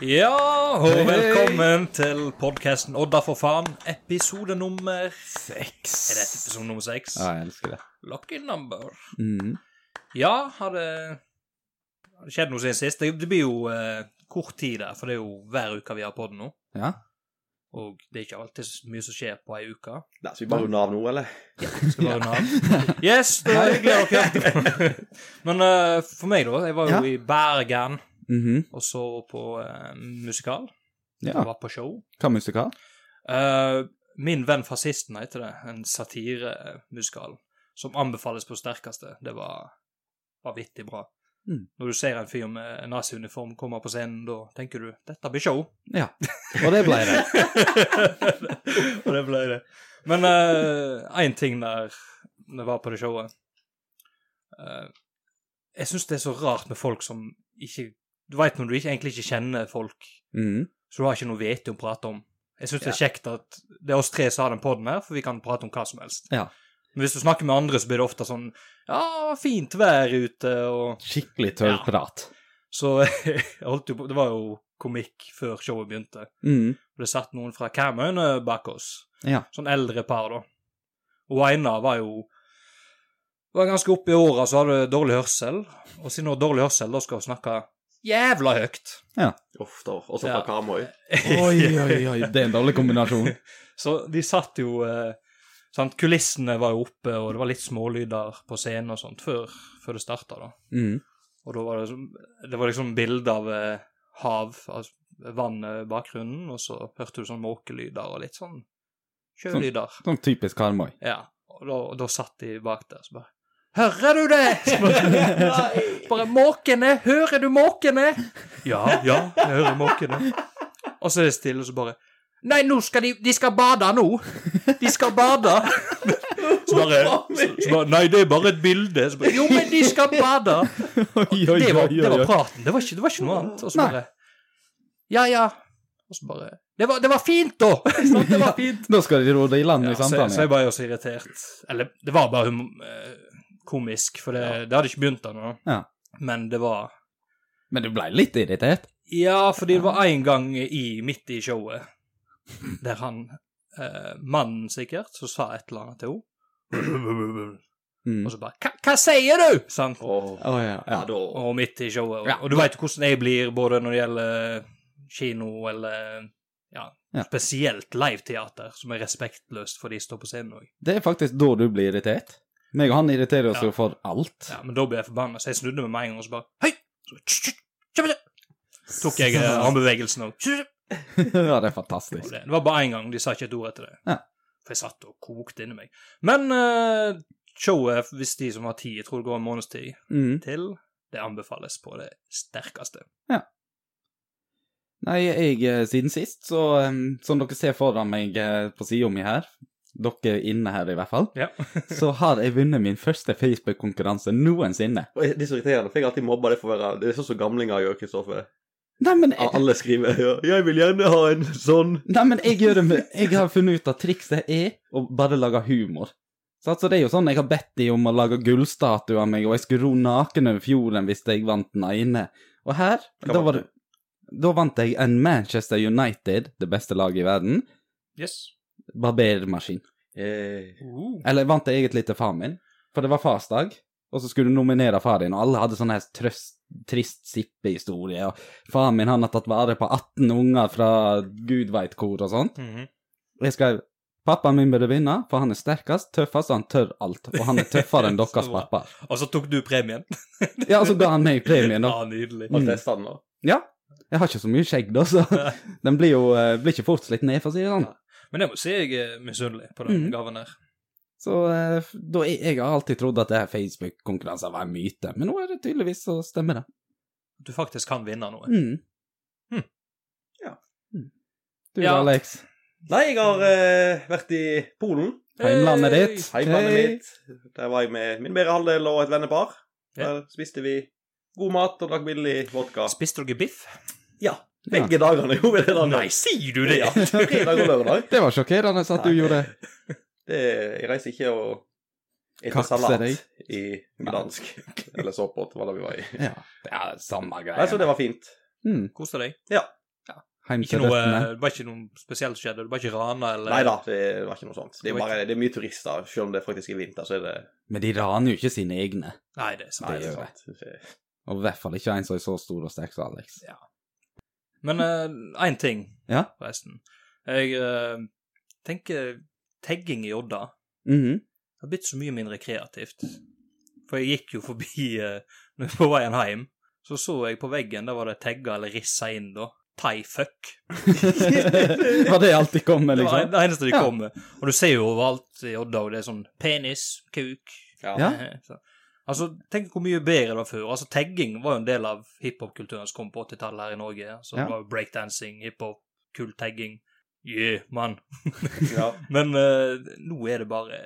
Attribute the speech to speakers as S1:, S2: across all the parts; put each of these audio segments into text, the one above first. S1: Ja, og velkommen til podkasten Odda for faen, episode nummer Seks. Er dette episode nummer seks?
S2: Ja, jeg elsker det.
S1: Lucky number.
S2: Mm.
S1: Ja, har det, har det skjedd noe siden sist? Det, det blir jo eh, kort tid der, for det er jo hver uke vi har podden nå.
S2: Ja.
S1: Og det er ikke alltid så mye som skjer på ei uke.
S3: Nei, Skal vi bare runde av nå, eller?
S1: Skal bare runde av. Yes, det var hyggelig å høre. Men eh, for meg, da. Jeg var jo
S2: Ja.
S1: i Bergen
S2: Mhm.
S1: og så på eh, musikal. Jeg
S2: ja.
S1: var på show.
S2: Hva musikal?
S1: Eh, Min venn fascisten heter det, en satiremusikal som anbefales på sterkeste. Det var, var vittig bra.
S2: Mm.
S1: Når du ser en fyr med naziuniform komme på scenen, da tenker du 'dette blir show'.
S2: Ja. Og det ble det.
S1: Og det ble det. Men én ting der når jeg var på det showet Eh, Jeg syns det er så rart med folk som ikke Du veit når du ikke, egentlig ikke kjenner folk
S2: Mhm.
S1: så du har ikke noe vete å prate om. Jeg syns det er kjekt at det er oss tre som har den podden her, for vi kan prate om hva som helst.
S2: Ja.
S1: Men hvis du snakker med andre, så blir det ofte sånn Ja, fint vær ute, og
S2: Skikkelig tørrprat.
S1: Så jeg holdt jo på Det var jo komikk før showet begynte.
S2: Mhm.
S1: Og det satt noen fra Karmøyene bak oss.
S2: Ja.
S1: Sånn eldre par, da. Og Aina var jo var ganske oppe i åra, så hadde dårlig hørsel. Og siden hun har dårlig hørsel, da skal hun snakke jævla høyt.
S3: Ofte. Også fra
S1: Ja.
S3: Karmøy.
S2: Oi, oi, oi. Det er en dårlig kombinasjon.
S1: Så de satt jo eh, sant? Kulissene var jo oppe, og det var litt smålyder på scenen og sånt før, før det starta. Da.
S2: Mhm.
S1: Og da var det, som- det var liksom bilde av eh, hav, altså vann eh, bakgrunnen, og så hørte du sånn måkelyder og litt sånn sjølyder.
S2: Sånn typisk Karmøy.
S1: Ja. Og da, og da satt de bak der, så bare Hører du det?! Så bare, bare Måkene! Hører du måkene? Ja, ja, jeg hører måkene. Og så er det stille, og så bare Nei, nå skal de De skal bade nå! De skal bade! Så bare, så, så bare Nei, det er bare et bilde. Så bare, jo, men de skal bade!
S2: Oi, oi,
S1: Det var,
S2: oi,
S1: det
S2: oi,
S1: var
S2: oi.
S1: praten. Det var ikke, det var ikke noe annet. Og så bare Ja, ja. Og så bare Det var, det var fint, da! Sant? Det var fint.
S2: Da skal de rode i land i
S1: Ja, så,
S2: samtalen.
S1: så jeg var jo så irritert. Eller, det var bare hum eh, komisk, for det, det hadde ikke begynt ennå.
S2: Ja.
S1: Men det var
S2: Men du ble litt irritert?
S1: Ja, fordi det var én gang i, midt i showet der han, eh, mannen sikkert, så sa et eller annet til henne.
S2: Mhm.
S1: Og så bare «Hva- Hva sier du?! Sant?
S3: Åh,
S2: Å, ja.
S3: ja,
S2: ja.
S3: da.
S1: Og midt i showet. Og,
S2: Ja.
S1: og du veit hvordan jeg blir både når det gjelder kino eller ja,
S2: Ja.
S1: spesielt liveteater, som er respektløst for de står på scenen òg.
S2: Det er faktisk da du blir irritert. Meg og han irriterer oss jo for alt.
S1: Ja, men da ble jeg forbanna, så jeg snudde meg med en gang og så bare Hei! Så, «Tsk, tsk, tsk, tsk, tsk». tok jeg eh, armbevegelsen òg. Det
S2: Ja, det er fantastisk.
S1: det var bare én gang, de sa ikke et ord etter det.
S2: Ja.
S1: For jeg satt og kokte inni meg. Men eh, showet, hvis de som har tid, jeg tror det går en måneds tid
S2: Mhm.
S1: til, det anbefales på det sterkeste.
S2: Nei, jeg, eh, siden sist, så eh, som dere ser foran meg eh, på sida mi her, dere inne her i hvert fall,
S1: Ja.
S2: så har jeg vunnet min første Facebook-konkurranse noensinne.
S3: Og Det er så irriterende, for jeg har alltid mobba det for å være Det er sånn som gamlinger gjør, Kristoffer.
S2: Nei, men
S3: Ja,
S2: jeg,
S3: Alle skriver ja, 'Jeg vil gjerne ha en sånn'.
S2: nei, men jeg, gjør det med, jeg har funnet ut at trikset er å bare lage humor. Så altså, det er jo sånn, Jeg har bedt de om å lage gullstatue av meg, og jeg skulle ro naken over fjorden hvis jeg vant den ene. Og her,
S3: Hva
S2: da
S3: vant
S2: var
S3: du?
S2: det Da vant jeg en Manchester United, det beste laget i verden,
S1: Yes.
S2: barbermaskin.
S3: Eh,
S1: Uh.
S2: Eller vant jeg egentlig til far min, for det var farsdag, og så skulle du nominere far din, og alle hadde sånne her trøst, trist sippehistorie, og far min han har tatt vare på 18 unger fra gud veit hvor og sånt.
S1: Mhm.
S2: Og jeg skrev Pappaen min burde vinne, for han er sterkest, tøffest, og han tør alt. Og han er tøffere enn deres
S1: Så bra.
S2: pappa.
S1: Og så tok du premien.
S2: Ja, og så ga han meg premien, da.
S1: Ja, nydelig.
S3: Har du testa den, da?
S2: Jeg har ikke så mye skjegg, da, så den blir jo eh, blir ikke fort slitt ned, for å si det sånn.
S1: Men jeg må si jeg er misunnelig på den
S2: Mhm.
S1: gaven der.
S2: Så eh, f- da, jeg, jeg har alltid trodd at det her Facebook-konkurransen var en myte, men nå er det tydeligvis så stemmer det.
S1: At du faktisk kan vinne noe.
S2: Mm.
S1: Hmm.
S3: Ja.
S2: Mm. Du
S1: Ja.
S2: da, Alex.
S3: Nei, jeg har eh, vært i Polen.
S2: Heimlandet
S1: Hey!
S2: ditt.
S3: Heimelandet
S2: Hei.
S3: mitt. Der var jeg med min bedre halvdel og et vennepar. Der spiste vi god mat og drakk billig vodka.
S1: Spiste dere biff?
S3: Ja. Begge dagene gjorde vi det. da.
S1: sier du
S3: Ja, fredag og lørdag.
S2: Det var sjokkerende at du
S3: Nei.
S2: gjorde
S3: Det, jeg reiser ikke og spiser
S2: Kakse
S3: salat
S2: deg.
S3: i Gdansk. Eller såpåt, hva da vi var i.
S2: Ja, det er samme greia.
S3: Nei, så det var fint.
S2: mm.
S1: Koste deg?
S3: Ja.
S2: Heim
S1: Ikke
S2: til
S1: noe,
S2: røttene.
S1: det var ikke noe spesielt som skjedde? Det var ikke rana eller
S3: Nei da, det var ikke noe sånt. Det er, bare, det er mye turister. Selv om det faktisk er vinter, så er det
S2: Men de raner jo ikke sine egne.
S1: Nei, det er sant.
S3: Nei, det
S2: gjør
S3: er sant. Det-
S2: Og i hvert fall ikke en som er så stor og sterk som Alex.
S1: Men én ting,
S2: Ja.
S1: forresten. Jeg eh, tenker tagging i Odda
S2: Mhm.
S1: Det har blitt så mye mindre kreativt. For jeg gikk jo forbi eh, når jeg var på veien hjem, så så jeg på veggen, der var det tagga eller rissa inn, da. Thai fuck.
S2: Var det alt de kom med,
S1: Det var
S2: liksom?
S1: det eneste de
S2: Ja.
S1: kom med. Og du ser jo overalt i Odda, og det er sånn penis, kuk
S3: Ja.
S2: Ja.
S1: Så, Altså, tenk hvor mye bedre det var før. Altså, Tagging var jo en del av hiphop-kulturen som kom på 80-tallet her i Norge. Altså,
S2: Ja.
S1: Det var jo breakdancing, hiphop, kul tagging. Yeah, mann.
S3: ja.
S1: Men eh, nå er det bare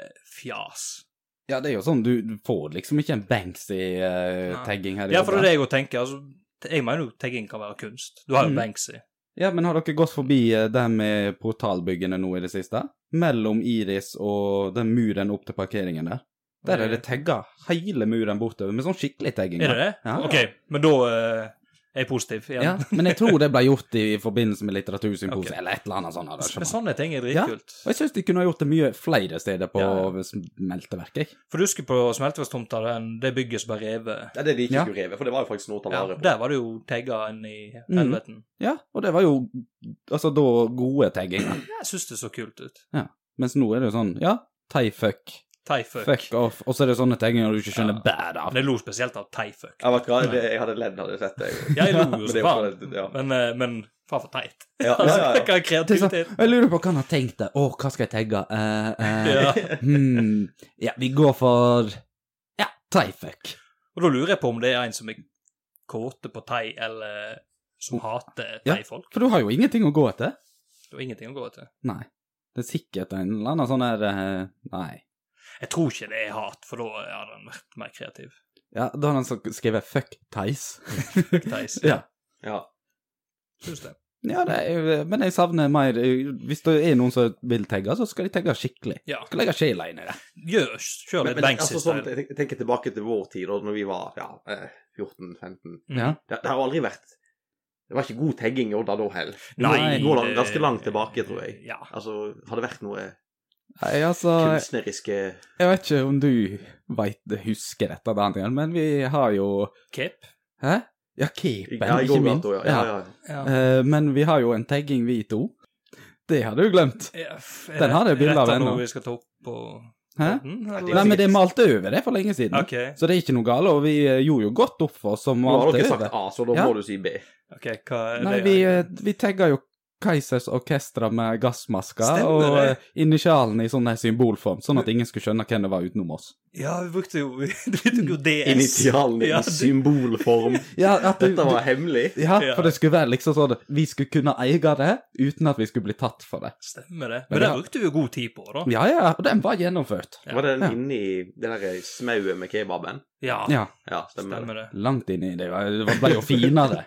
S1: fjas.
S2: Ja, det er jo sånn, du, du får liksom ikke en
S1: Nei.
S2: Banksy-tagging her i
S1: Ja, for det er
S2: Odda.
S1: det jeg òg tenker. Altså, t- jeg mener jo tagging kan være kunst. Du har jo
S2: Mm.
S1: Banksy.
S2: Ja, men har dere gått forbi eh, det med portalbyggene nå i det siste? Mellom Iris og den muren opp til parkeringen der. Der er det tagga hele muren bortover, med sånn skikkelig tagging.
S1: Eh. Er det det?
S2: Ja.
S1: OK, men da eh, er jeg positiv igjen.
S2: Ja, men jeg tror det ble gjort i forbindelse med litteratursymposium,
S1: Ok.
S2: eller et eller annet sånt.
S1: Men sånn-
S2: arrangement.
S1: sånne ting er
S2: Ja.
S1: dritkult.
S2: Og jeg syns de kunne ha gjort det mye flere steder på
S1: Ja,
S2: smelteverket. jeg.
S1: For du husker på smelteverkstomta, den- det bygget som ble revet?
S3: Det er det de ikke
S2: Ja.
S3: skulle revet, for det var jo faktisk noe å ta
S1: Ja,
S3: vare på.
S1: der var det jo tagga inn i
S2: Mm.
S1: helveten.
S2: Ja, og det var jo altså da gode tagginger.
S1: Jeg syns det så kult ut.
S2: Mens nå er det jo sånn, ja, thai fuck,
S1: Thai-fuck.
S2: fuck, off, og så er det sånne tagginger du ikke skjønner
S1: Ja.
S2: bad av.
S1: Men jeg lo spesielt av thai-fuck.
S3: Jeg, vet, hva, det, jeg hadde ledd hadde jeg sett det. jeg.
S1: Ja, jeg lo jo
S3: Men det
S1: så
S3: er jo
S1: faen.
S3: bare- ja.
S1: Men, eh, men faen for teit.
S3: Ja, ja,
S1: Altså,
S3: ja, ja.
S1: Hva er kreativitet?
S2: sånn, Jeg lurer på hva han har tenkt det. Å, hva skal jeg tagge? Eh, eh,
S1: Ja.
S2: hmm, ja, vi går for Ja, thai fuck.
S1: Og da lurer jeg på om det er en som er kåte på thai, eller som hater
S2: Ja.
S1: thai-folk.
S2: For du har jo ingenting å gå etter.
S1: Det var ingenting å gå til.
S2: Nei. Det er sikkert en eller annen sånn her eh, Nei.
S1: Jeg tror ikke det er hat, for da hadde han vært mer kreativ.
S2: Ja, da har han så- skrevet 'fuck Theis'.
S1: Theis.
S2: ja.
S3: Ja.
S1: Syns det.
S2: ja det er, men jeg savner mer eh, Hvis det er noen som vil tagge, så skal de tagge skikkelig.
S1: Ja.
S2: Skal legge sjela inn i det.
S1: Gjør, kjør
S3: Men,
S1: litt
S3: men altså, sånn,
S1: Banksy-style.
S3: jeg tenker tilbake til vår tid, da når vi var ja, 14-15.
S1: Mm.
S2: Ja.
S3: Det, det har aldri vært Det var ikke god tagging i Odda da heller.
S1: Nei,
S3: Nå er det
S1: det-
S3: ganske langt tilbake, tror jeg.
S1: Ja.
S3: Altså, har det vært noe
S2: Nei, altså
S3: kunstneriske
S2: Jeg vet ikke om du vet, husker dette, Daniel, men vi har jo
S1: Cape.
S2: Hæ? Ja, capen,
S3: Ja, i
S2: ikke
S3: går
S2: minst.
S3: da, ja. ja, ja.
S1: Ja.
S2: Eh, men vi har jo en tagging, vi to. Det hadde du glemt. Den har jeg bilde av ennå.
S1: noe vi skal ta opp på
S2: Hæ?
S1: podden,
S3: Nei,
S1: eller?
S2: Nei, men det malte over det for lenge siden.
S1: OK,
S2: Så det er ikke noe galt, og vi eh, gjorde jo godt opp for oss som
S3: Nå har
S2: malte
S3: dere
S2: over.
S3: sagt A, så da
S2: Ja.
S3: må du si B.
S1: ok, hva er
S2: Nei,
S1: det?
S2: vi, eh, vi tagga jo Keisers Orkestra med gassmasker
S1: Stemmer
S2: og
S1: det.
S2: eh, initialene i sånn her symbolform, sånn at ingen skulle skjønne hvem det var utenom oss.
S1: Ja, vi brukte jo Vi brukte jo DS.
S3: Initialene
S1: Ja,
S3: i
S1: det-
S3: symbolform.
S2: Ja, at du,
S3: Dette
S2: du,
S3: var hemmelig.
S2: ja,
S1: Ja.
S2: for det skulle være liksom sånn at Vi skulle kunne eie det uten at vi skulle bli tatt for det.
S1: Stemmer det.
S2: Men
S1: Men
S2: det
S1: det
S2: har-
S1: brukte vi jo god tid på, da.
S2: Ja, ja, og den var gjennomført.
S1: Ja.
S3: Var det den
S2: Ja.
S3: inni det der smauet med kebaben?
S1: Ja,
S2: Ja,
S3: Ja, stemmer.
S1: stemmer det.
S2: langt inn i det. Det ble jo finere.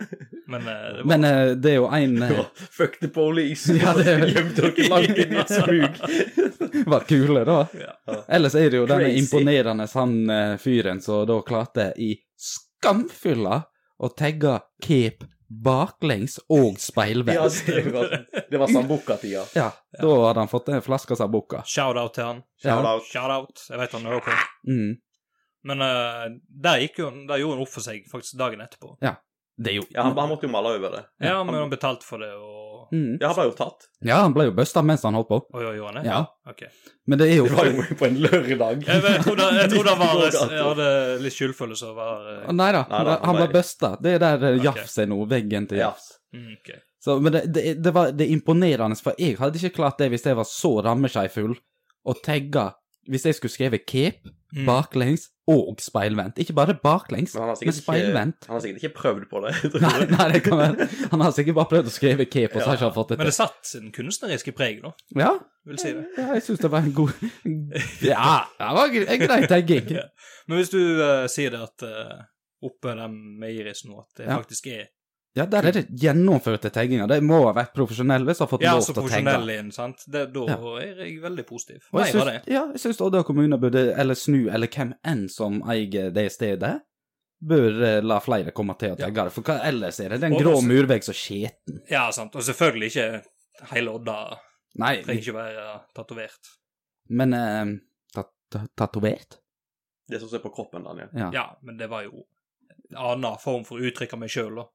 S1: Men eh, det var
S2: Men eh, det er jo en
S3: det.
S2: eh,
S3: Fuck the police!
S2: Ja, det-
S3: Gjemte dere langt inn i et smug.
S2: var kule, da.
S1: ja.
S2: Ellers er det jo denne
S3: Crazy.
S2: imponerende han eh, fyren som da klarte i skamfylla å tagge cape baklengs og
S3: Ja,
S2: speilvendt.
S3: det var, det var Sambuca-tida.
S2: Ja, da hadde han fått en flaske Sambuca.
S1: Shout-out til han.
S2: Ja.
S3: Shout-out.
S1: Shout-out. Jeg vet han hører på.
S2: Mm.
S1: Men eh, der, gikk jo, der gjorde han opp for seg faktisk dagen etterpå.
S2: Det er jo
S3: Ja, han, han måtte jo male over det.
S1: Ja, men han betalte for det, og
S2: mm.
S3: Ja, han ble jo tatt.
S2: Ja, han ble jo busta mens han holdt på.
S1: Oi, oi, gjorde han det?
S2: Ja.
S1: Ok.
S2: Men det er jo
S3: Det var jo på en lørdag.
S1: Jeg, jeg trodde, jeg trodde han var Jeg hadde litt skyldfølelse over eh,
S2: Nei da,
S3: Nei da,
S2: han ble
S3: nei.
S2: busta. Det er der eh,
S1: Ok.
S2: Jafs er nå, veggen til
S3: Ja.
S2: Jafs.
S1: mm, ok.
S2: Så, men det, det, det, var, det er imponerende, for jeg hadde ikke klart det hvis jeg var så rammeskeifull og tagga Hvis jeg skulle skrevet cape,
S1: Mm.
S2: baklengs og speilvendt. Ikke bare baklengs,
S3: Men han har
S2: men
S3: sikkert, ikke,
S2: speilvendt.
S3: han har sikkert ikke prøvd på det. tror
S2: Nei,
S3: jeg.
S2: nei, det kan være. Han har sikkert bare prøvd å skrive cape, og så har ikke han fått det
S1: Men det
S2: til.
S1: satt sin kunstneriske preg, da.
S2: Ja,
S1: Vil si det.
S2: ja jeg syns det var en god Ja, det var gre- en grei tagging.
S1: Ja. Men hvis du eh, sier det at eh, oppe den med Iris nå, at det
S2: Ja.
S1: faktisk er
S2: Ja, der er det gjennomførte tagginger. De må ha vært profesjonelle hvis de har fått
S1: Ja,
S2: lov
S1: så
S2: til å tagge.
S1: profesjonell inn, sant. Det, da
S2: Ja.
S1: er jeg veldig positiv.
S2: Og
S1: Nei,
S2: jeg
S1: var det.
S2: syns, ja, jeg syns Odda kommune burde, eller Snu, eller hvem enn som eier det stedet, bør eh, la flere komme til å tagge det, for hva ellers er det? Det er en
S1: Og
S2: grå
S1: også-
S2: murvegg som skjeten.
S1: Ja, sant. Og selvfølgelig ikke hele Odda.
S2: Nei,
S1: Trenger ikke være tatovert.
S2: men eh, tat- tat- tatovert?
S3: Det som er på kroppen, Daniel.
S2: Ja.
S1: Ja, men det var jo en annen form for å uttrykke meg sjøl, da.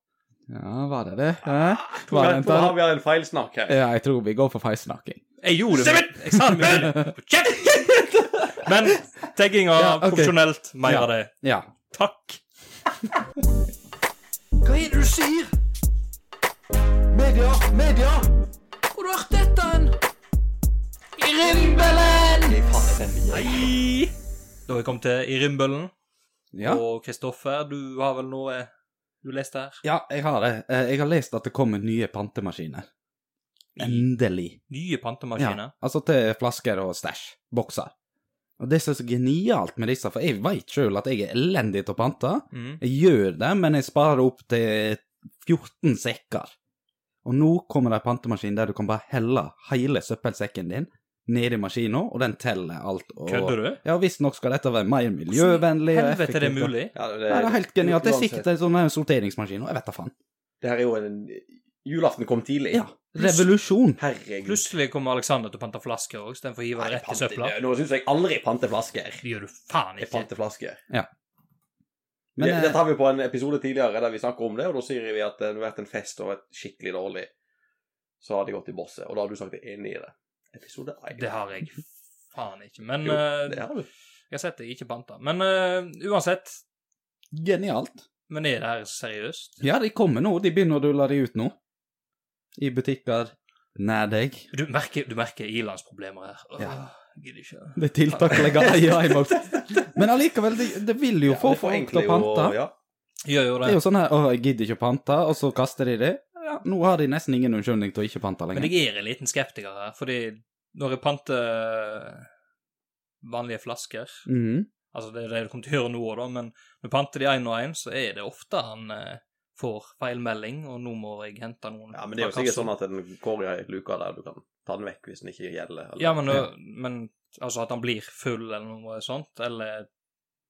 S2: ja, var det det? Ja.
S1: Ah,
S2: Var det
S3: Jeg
S2: en
S3: tror
S2: tar-
S3: vi har en feilsnakk her.
S2: ja, jeg tror vi går for feilsnakking.
S1: Jeg gjorde det. med- Jeg sa det med Kjeft! Men tagginga
S2: Ja, ok.
S1: profesjonelt, mer
S2: Ja.
S1: av det.
S2: Ja.
S1: Takk.
S4: Hva er det du sier? Media, media! Hvor har du hørt dette hen? I rimbelen!
S1: Hei! Da har vi kommet til Irimbøllen.
S2: ja.
S1: Og Kristoffer, du har vel noe du leste her?
S2: Ja, jeg har det. Eh, Jeg har lest at det kommer nye pantemaskiner. Endelig.
S1: Nye
S2: Ja,
S1: pantemaskiner?
S2: altså til flasker og stæsj. Bokser. Og det som er så genialt med disse, for jeg veit sjøl at jeg er elendig til å pante.
S1: Mm.
S2: Jeg gjør det, men jeg sparer opp til 14 sekker. Og nå kommer det en pantemaskin der du kan bare helle hele søppelsekken din ned i maskina, og den teller alt. Og...
S1: Kødder du?
S2: Ja, visstnok skal dette være mer miljøvennlig.
S1: Helvete,
S2: og
S1: det er
S2: effektivt, og-
S1: mulig.
S3: Ja, det,
S2: Ja, det er helt genialt. Det er sikkert en sånn her sorteringsmaskin, og jeg vet da faen.
S3: Det her er jo en Julaften kom tidlig.
S2: Ja, revolusjon.
S3: Herregud.
S1: Plutselig kommer Alexander til å pante flasker òg, istedenfor å hive det
S3: Nei,
S1: rett i
S3: pante-
S1: søpla.
S3: Nå syns jeg aldri pante flasker.
S1: Det gjør du faen
S3: Jeg
S1: ikke.
S3: panter flasker.
S2: Men
S3: Det-
S2: eh,
S3: Dette har vi på en episode tidligere der vi snakker om det, og da sier vi at det har vært en fest og vært skikkelig dårlig. Så har de gått i bosset, og da har du sagt deg enig i det. Episode 1.
S1: Det har jeg faen ikke. Men
S3: Jo,
S1: eh,
S3: det har du.
S1: jeg har sett deg ikke panta. Men eh, uansett
S2: genialt.
S1: Men er det her så seriøst?
S2: Ja, de kommer nå. De begynner å rulle de ut nå. I butikker nær deg.
S1: Du merker, du merker ilandsproblemer her. Åh,
S2: Ja.
S1: Gidder ikke.
S2: Det er tiltak å legge i øyemål. Men allikevel, det de vil jo
S3: Ja,
S2: få
S3: det
S2: folk til å
S3: forenkler jo-
S2: pante.
S3: Ja.
S1: Gjør jo
S2: Det
S1: det.
S2: er jo sånn her 'Å, jeg gidder ikke å pante', og så kaster de det. Ja, nå har de nesten ingen unnskyldning til å ikke pante
S1: Men
S2: lenger.
S1: jeg er en liten skeptiker her, fordi når jeg panter vanlige flasker
S2: Mhm.
S1: Altså, det er det du kommer til å høre nå, da, men når jeg panter de én og én, så er det ofte han eh, får feilmelding, og nå må jeg hente noen
S3: ja, men det er jo sikkert sånn at den går i ei luke der du kan ta den vekk hvis den ikke gjelder. eller-
S1: Ja, men,
S2: Ja.
S1: ø, men altså at han blir full eller noe sånt, eller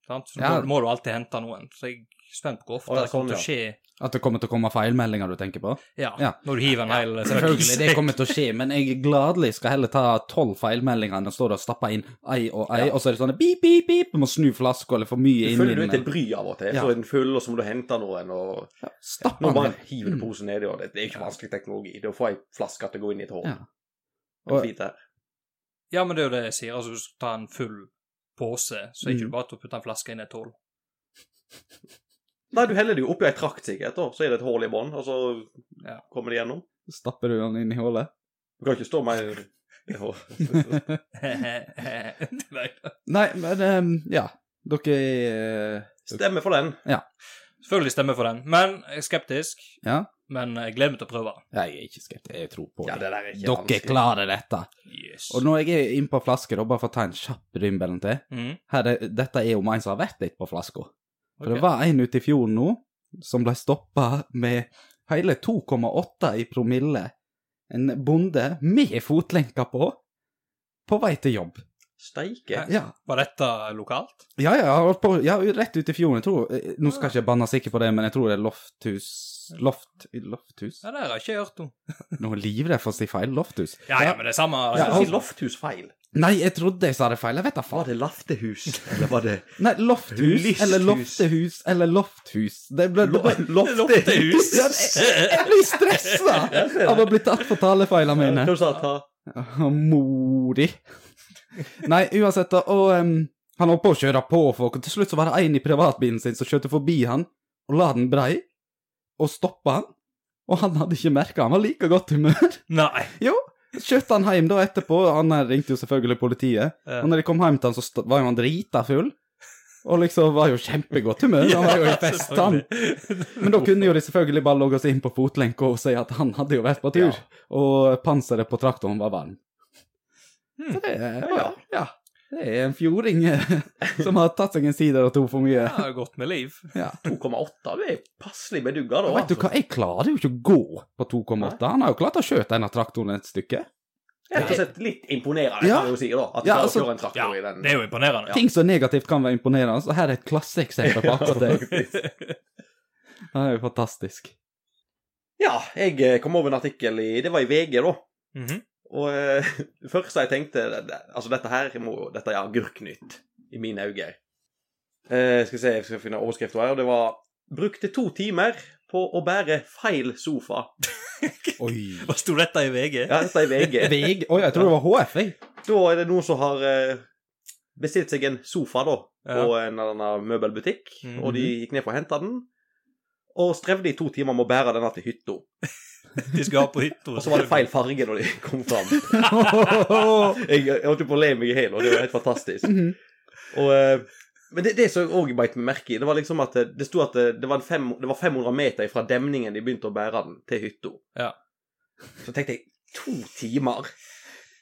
S1: sant? Så
S2: Ja.
S1: må, må du alltid hente noen. Så jeg er spent på hvor ofte
S3: Å, ja,
S1: det kommer
S3: sånn,
S1: til å skje.
S2: At det kommer til å komme feilmeldinger du tenker på?
S1: Ja,
S2: Ja.
S1: når du hiver en hel
S2: Selvfølgelig, det kommer til å skje, men jeg gladelig skal heller ta tolv feilmeldinger enn å stå der og stappe inn ei og ei, og så er det sånn beep, beep, beep, du må snu flaska eller for mye
S3: Du
S2: inn i
S3: føler du er
S2: den.
S3: til bry av og til.
S2: Ja.
S3: Så er den full, og så må du hente noen, og
S2: Ja, Stapp
S3: Nå
S2: den.
S3: bare hiver du posen nedi, og det det er jo ikke vanskelig teknologi. Da får jeg flaska til å gå inn i et hål.
S2: Ja.
S3: Det er
S2: Og-
S3: fint det.
S1: Ja, men det er jo det jeg sier. Altså, du skal ta en full pose, så er det ikke
S2: Mm.
S1: bare til å putte en flaske inn i et hull.
S3: Nei, du heller det jo oppi ei trakt, sikkert, og så er det et hull i bånn, og så
S1: Ja.
S3: kommer det gjennom.
S2: Stapper du den inn i hullet?
S3: Du kan ikke stå mer
S1: Nei.
S2: Nei, men ehm, ja. Dere eh,
S3: Stemme for den.
S1: Selvfølgelig stemmer jeg for den, men jeg er skeptisk.
S2: Ja?
S1: Men jeg gleder meg til å prøve.
S2: Jeg er ikke skeptisk, jeg tror på det.
S3: der er
S2: Dere klarer dette.
S1: Yes.
S2: Og når jeg er inne på flasker, da bare for å ta en kjapp rymbelen til
S1: Mm,
S2: Her er, Dette er jo en som har vært litt på flaska. For
S1: ok.
S2: det var en ute i fjor nå som ble stoppa med hele 2,8 i promille. En bonde med fotlenka på, på vei til jobb.
S3: Steike.
S2: Ja,
S1: Var dette lokalt?
S2: ja, ja, og på, ja rett ut i fjorden. Jeg tror, eh, nå skal jeg ikke banne sikker på det, men jeg tror det er Lofthus Loft, Lofthus?
S1: Ja, det har jeg ikke hørt om.
S2: Nå er jeg livredd for å si feil. Lofthus.
S1: Ja, ja, men det er samme.
S3: Ja,
S2: Ja,
S3: si
S2: altså-
S3: lofthus feil.
S2: Nei, jeg trodde jeg sa det feil. Jeg vet da faen.
S3: Var det laftehus, eller var det
S2: Nei, lofthus,
S3: Lysthus.
S2: eller lofthus, eller lofthus. Det ble, det ble,
S3: Loftehus?
S2: Ja, jeg, jeg blir stressa av å bli tatt for talefeilene mine.
S3: Du sa ta
S2: Å, Mori. Nei, uansett, da. Og em, han holdt på å kjøre på folk, og til slutt så var det en i privatbilen sin som kjørte forbi han, og la den brei, og stoppa han. Og han hadde ikke merka, han var like godt humør.
S1: Nei.
S2: Kjørte han hjem da etterpå, og han her ringte jo selvfølgelig politiet.
S1: Eh,
S2: Og når de kom hjem til han, så st- var jo han drita full. Og liksom var jo kjempegodt humør. Han var jo i fest, han.
S1: selvfølgelig.
S2: Men da kunne jo de selvfølgelig bare logge oss inn på fotlenka og si at han hadde jo vært på tur, og panseret på traktoren var varm.
S1: Hmm.
S2: Så det er, ja,
S3: Ja.
S2: ja. Det er en fjording eh, som har tatt seg en sider og to for mye.
S1: Ja, det er godt med liv.
S3: 2,8. Du er passelig bedugga, da.
S2: Vet du hva, jeg klarer jo ikke å gå på 2,8. Han har jo klart å skjøte denne traktoren et stykke.
S3: Rett og slett litt imponerende,
S2: Ja.
S3: kan vi jo si. da, At du
S2: Ja,
S3: klarer
S2: altså-
S3: å kjøre en
S1: Ja,
S3: traktor i den.
S1: det er jo imponerende.
S2: Ting som negativt kan være imponerende, så her er et klasseeksempel på akkurat det. Det er jo fantastisk.
S3: Ja, jeg eh, kom over en artikkel i Det var i VG, da.
S1: Mhm.
S3: Og eh, det første jeg tenkte det- det- Altså, dette her må Dette er agurknytt i mine øyne. Eh, skal vi se, jeg skal finne overskriften her. Og det var 'Brukte to timer på å bære feil sofa'.
S2: Oi.
S1: Hva sto dette i VG?
S3: Ja, dette er i VG.
S2: Veg Oi, jeg tror det var HF, jeg.
S3: Da er det noen som har eh, bestilt seg en sofa, da,
S1: Ja.
S3: på en eller annen møbelbutikk.
S1: Mhm.
S3: Og de gikk ned for å hente den. Og strevde i to timer med å bære denne til hytta.
S1: De skal ha på hytta.
S3: Og så var det feil farge når de kom fram. Jeg, jeg holdt jo på å le meg i hjel, og det var helt fantastisk.
S2: Mhm.
S3: Og, eh, men det, det som jeg òg beit meg merke i, det var liksom at eh, det sto at eh, det var, en fem, det var 500 meter fra demningen de begynte å bære den, til hytta.
S1: Ja.
S3: Så tenkte jeg to timer?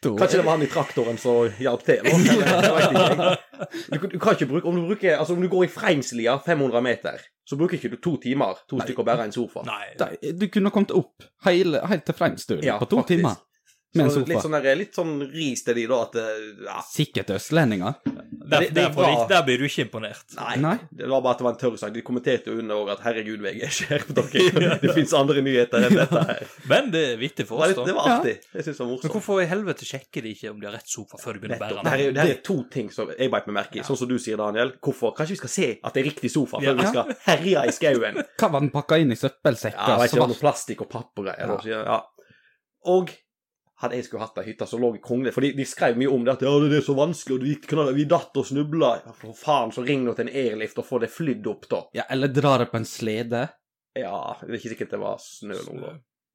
S2: Da-
S3: Kanskje det var han i traktoren som hjalp til? eller? Jeg vet ikke, jeg. Du, du kan ikke bruke, om du, bruker, altså, om du går i Freinslia 500 meter, så bruker ikke du to timer to stykker å bære en sofa.
S1: Nei.
S2: Nei, Du kunne kommet opp hele, helt til Fremstuen
S3: Ja,
S2: på to
S3: faktisk.
S2: timer med en
S3: Så
S2: sofa.
S3: Litt sånn, der, litt sånn ris til de, da, at eh, ja,
S2: Sikkert østlendinger.
S1: Der,
S3: Det- det
S1: der, får
S3: var-
S1: de- der blir du ikke imponert.
S3: Nei.
S2: Nei.
S3: Det var bare at det var en tørr sak. De kommenterte jo under også at 'herregud, VG, skjerp dere'. Det fins andre nyheter enn dette her.
S1: Men det er vittig
S3: Det
S1: for
S3: var,
S1: oss,
S3: litt, det
S1: da.
S3: var artig. Jeg synes det var
S1: Men
S3: morsomt.
S1: hvorfor i helvete sjekker de ikke om de har rett sofa før de begynner å bære
S3: Nettopp. Det her er,
S1: den?
S3: det her er to ting som jeg beit meg merke i. Sånn som du sier, Daniel. Hvorfor? Kanskje vi skal se at det er riktig sofa før
S1: Ja.
S3: vi skal herje i skauen?
S2: Hva var den pakka inn i søppelsekker?
S3: Ja, vet ikke,
S2: svart?
S3: noe plastikk og papp og greier. og så- Ja. Og hadde jeg skulle hatt ei hytte som lå i Kongle For de, de skrev mye om det at ja, det er så vanskelig, og vi, knall- vi datt og snubla. Ja, For faen, så ring nå til en airlift og få det flydd opp, da.
S2: ja, eller dra det på en slede.
S3: Ja, det er ikke sikkert det var snø nå, da.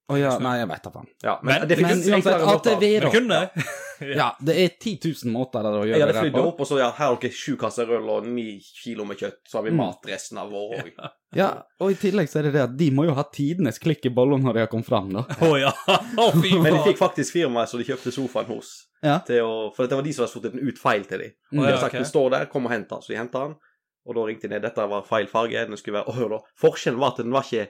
S2: Å ja, nei, jeg vet da faen.
S3: Ja,
S1: Men-
S3: det
S2: Men
S3: finnes
S2: uansett,
S3: enklere måter.
S2: ATV,
S1: Men
S2: da.
S1: kunne
S2: Ja, det er 10 000 måter å
S3: Jeg
S2: gjøre
S3: hadde
S2: det
S3: flydd
S2: på.
S3: opp, og så ja, her har dere sju kasser øl og ni kilo med kjøtt. Så har vi
S2: Mm.
S3: mat resten av året òg.
S2: Ja, og i tillegg så er det det at de må jo ha tidenes klikk i bollen når de har kommet fram, da.
S1: Å ja! Å, fy
S3: Men de fikk
S1: faen.
S3: faktisk firmaet som de kjøpte sofaen hos.
S2: Ja.
S3: Til å, for dette var de som hadde sortert den ut feil til de.
S1: Å, ja,
S3: Og de hadde
S2: Mm.
S3: sagt
S1: ok.
S3: den står der, kom og hent den. Så de henta den, og da ringte de ned. Dette var feil farge. Den skulle være, og hør da, Forskjellen var at den var ikke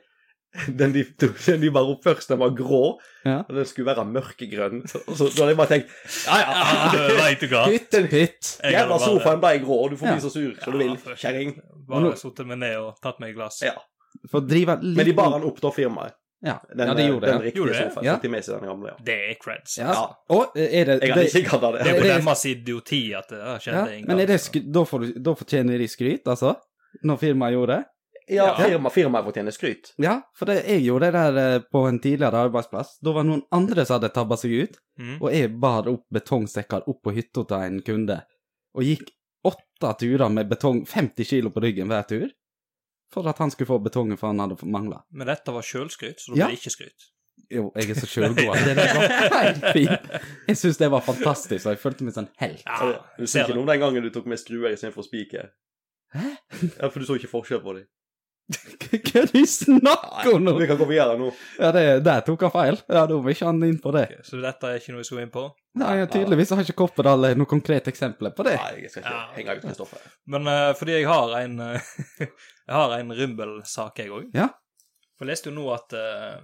S3: den de, den de bare opp først, den var grå,
S2: Ja.
S3: og den skulle være mørkegrønn. Så, så da hadde jeg bare tenkt Ja,
S1: Ja,
S3: ja.
S1: Veit du hva?
S2: Hytt, hytt.
S1: Jeg
S3: Jævla
S1: hadde bare-
S3: sofaen ble grå, og du får
S2: Ja.
S3: bli så sur som du vil,
S1: Ja,
S3: kjerring.
S1: Bare sittet meg ned og tatt meg et glass.
S3: Ja.
S2: For å drive litt
S3: Men de bar han opp da firmaet.
S2: Ja,
S3: Den,
S2: ja det gjorde
S3: den
S2: det.
S3: riktige
S1: Gjorde det?
S3: sofaen.
S2: Ja.
S3: Fikk de med seg den gamle, ja.
S1: Det er creds.
S2: Ja. Og eh, er det,
S3: Jeg hadde
S2: det
S3: ikke gadd av
S1: Det
S3: det.
S1: er på
S2: Det er-
S1: deres idioti at det ja,
S2: ja,
S1: skjedde en gang.
S2: Men er det
S1: så.
S2: skry, da, får, du- da fortjener de skryt, altså? Når firmaet gjorde det?
S3: Ja,
S1: Ja.
S3: firma, firmaet fortjener skryt.
S2: Ja, for det, jeg gjorde det der eh, på en tidligere arbeidsplass. Da var det noen andre som hadde tabba seg ut,
S1: Mm.
S2: og jeg bar opp betongsekker opp på hytta til en kunde. Og gikk åtte turer med betong, 50 kilo på ryggen hver tur, for at han skulle få betongen for han hadde mangla.
S1: Men dette var sjølskryt, så da
S2: Ja.
S1: blir det ikke skryt.
S2: Jo, jeg er så sjølgod at det der var helt fint. Jeg syns det var fantastisk, og jeg følte meg som en helt.
S1: Ja,
S3: du så
S1: Ah, ser
S3: ikke
S1: det.
S3: noe om den gangen du tok med skruer istedenfor spiker? Ja, for du så ikke forskjell på dem.
S2: Hva er det du snakker om nå?
S3: Vi kan gå videre nå.
S2: Ja, det, der tok han feil. Ja, da må ikke han inn på det.
S1: Ok, Så dette er ikke noe vi skal gå inn på.
S2: Nei, jeg tydeligvis har ikke Kopperdal noen konkrete eksempler på det.
S3: Nei, jeg skal ikke
S1: Ja.
S3: henge ut Kristoffer.
S1: Men eh, fordi jeg har en eh, Jeg har en Rymbel-sak, jeg òg.
S2: Ja.
S1: For jeg leste jo nå at eh,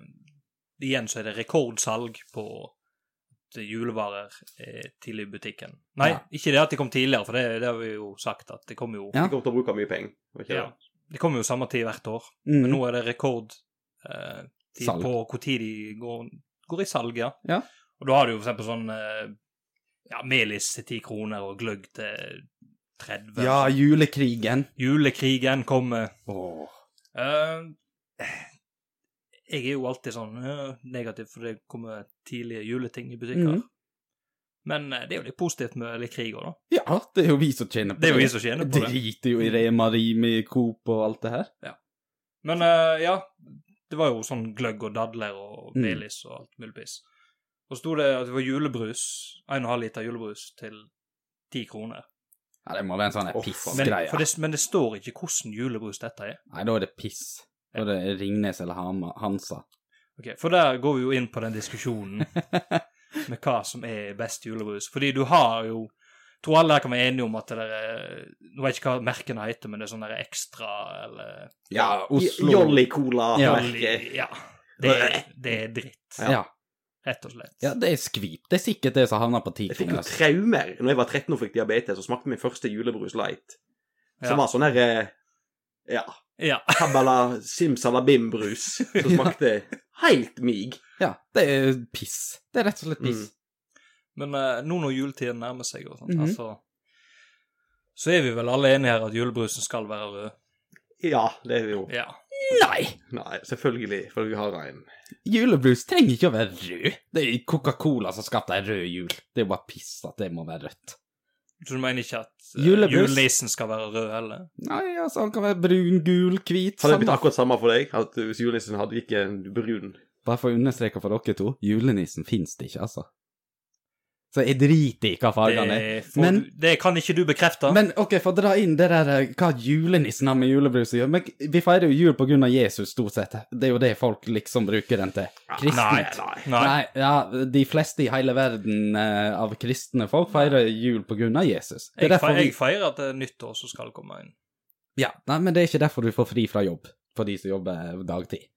S1: igjen så er det rekordsalg på at julevarer eh, tidlig i butikken. Nei,
S2: Ja.
S1: ikke det at de kom tidligere, for det, det har vi jo sagt at det kommer jo
S2: Ja.
S3: Vi kommer til å bruke mye penger. var ikke det?
S1: ja, Det kommer jo samme tid hvert år.
S2: Mm.
S1: Men nå er det rekord eh, tid
S2: Salg.
S1: på hvor tid de går, går i salg, ja.
S2: Ja.
S1: Og da har du jo for eksempel sånn eh, ja, melis til 10 kroner og gløgg til 30.
S2: Ja, julekrigen.
S1: Julekrigen kommer.
S2: Åh.
S1: Eh, jeg er jo alltid sånn eh, negativ, for det kommer tidlige juleting i butikker.
S2: Mhm.
S1: Men eh, det er jo litt positivt med litt krig òg, da.
S2: Ja, det er jo vi som tjener på
S1: Det er jo vi som tjener på det.
S2: Driter jo i Rema, Rimi, Coop og alt det her.
S1: Men eh, ja, det var jo sånn gløgg og dadler og
S2: Mm.
S1: melis og alt mulig piss. Og så sto det at det var julebrus, 1,5 liter julebrus til 10 kroner.
S2: Ja, det må være en sånn her
S3: Åh,
S1: Men,
S2: pissgreie.
S1: for det, men det står ikke hvordan julebrus dette er.
S2: Nei, da er det piss. Da er det Ringnes eller Hama, Hansa.
S1: Ok, For der går vi jo inn på den diskusjonen med hva som er best julebrus. Fordi du har jo Tror alle her kan være enige om at det der er Nå vet jeg ikke hva merkene heter, men det er sånn der ekstra eller
S2: Ja, Oslo.
S3: Jolly Cola.
S2: Ja.
S3: merke.
S1: Ja. Det, er- det er dritt.
S2: Ja.
S1: Rett og slett.
S2: Ja, det er skvip. Det er sikkert det som havner på ti
S3: Jeg fikk jo
S2: kroner.
S3: traumer når jeg var 13 og fikk diabetes og smakte min første julebrus light. Som
S1: Ja.
S3: var sånn herre Ja.
S1: Ja.
S3: Kabbala simsalabim-brus som smakte helt mig.
S2: Ja, det er piss. Det er rett og slett piss.
S1: Men eh, nå når juletiden nærmer seg, og sånt,
S2: Mhm.
S1: altså, så er vi vel alle enige her at julebrusen skal være rød.
S3: Ja, det er jo
S1: Ja.
S2: Nei!
S3: Nei, selvfølgelig. For vi har en
S2: Julebrus trenger ikke å være rød. Det er Coca-Cola som skapte ei rød jul. Det er jo bare piss at det må være rødt.
S1: Så du mener ikke at eh,
S2: Julebrus.
S1: julenissen skal være rød heller?
S2: Nei, altså, han kan være brun, gul, hvit,
S3: Hadde det
S2: samme.
S3: blitt akkurat samme for deg? At hvis julenissen hadde gikk en brun
S2: Bare for å understreke for dere to, julenissen fins det ikke, altså. Så jeg driter i hva fargene er.
S1: Det, får
S2: Men-
S1: du, det kan ikke du bekrefte.
S2: Men OK, for å dra inn det der eh, hva julenissen har med julebrus å gjøre Men vi feirer jo jul på grunn av Jesus, stort sett. Det er jo det folk liksom bruker den til.
S1: nei,
S2: Kristent.
S1: nei.
S2: Nei. ja, de fleste i hele verden eh, av kristne folk feirer jul på grunn av Jesus. Det er
S1: Jeg,
S2: derfor
S1: fe
S2: vi
S1: jeg feirer at det er nyttår som skal komme inn.
S2: Ja, nei, men det er ikke derfor du får fri fra jobb, for de som jobber dagtid.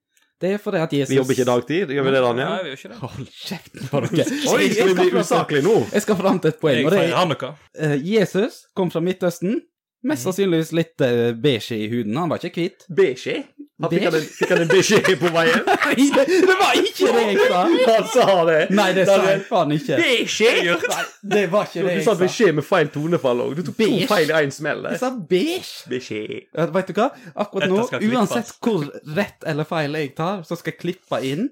S2: Det er fordi at Jesus
S3: Vi jobber ikke dagtid, gjør vi det,
S1: Nei,
S3: Daniel?
S1: vi gjør ikke det.
S2: Hold kjeften på dere!
S3: Oi, skal vi bli
S2: fram til-
S3: usaklige nå?
S2: jeg skal fram til et poeng,
S1: Jeg
S2: og det
S1: feirer
S2: er
S1: hanukka.
S2: eh, Jesus kom fra Midtøsten.
S1: Mhm.
S2: Mest sannsynligvis litt eh, beige i huden. Han var ikke hvit.
S3: Beskje? Han Fikk han en- fikk han en beskjed på veien?
S2: Nei, det, det var ikke det jeg sa!
S3: Han sa det!
S2: Nei, det sa jeg faen ikke.
S3: Beskje?
S2: Nei, det var ikke det
S3: Du, du
S2: jeg
S3: sa
S2: sa.
S3: beskjed med feil tonefall òg. Du tok to
S2: Beige.
S3: feil i én smell. der.
S2: Jeg sa beige.
S3: Beskjed.
S2: Ja, Vet du hva? Akkurat
S1: Dette
S2: nå,
S1: skal klippes.
S2: uansett hvor rett eller feil jeg tar, så skal jeg klippe inn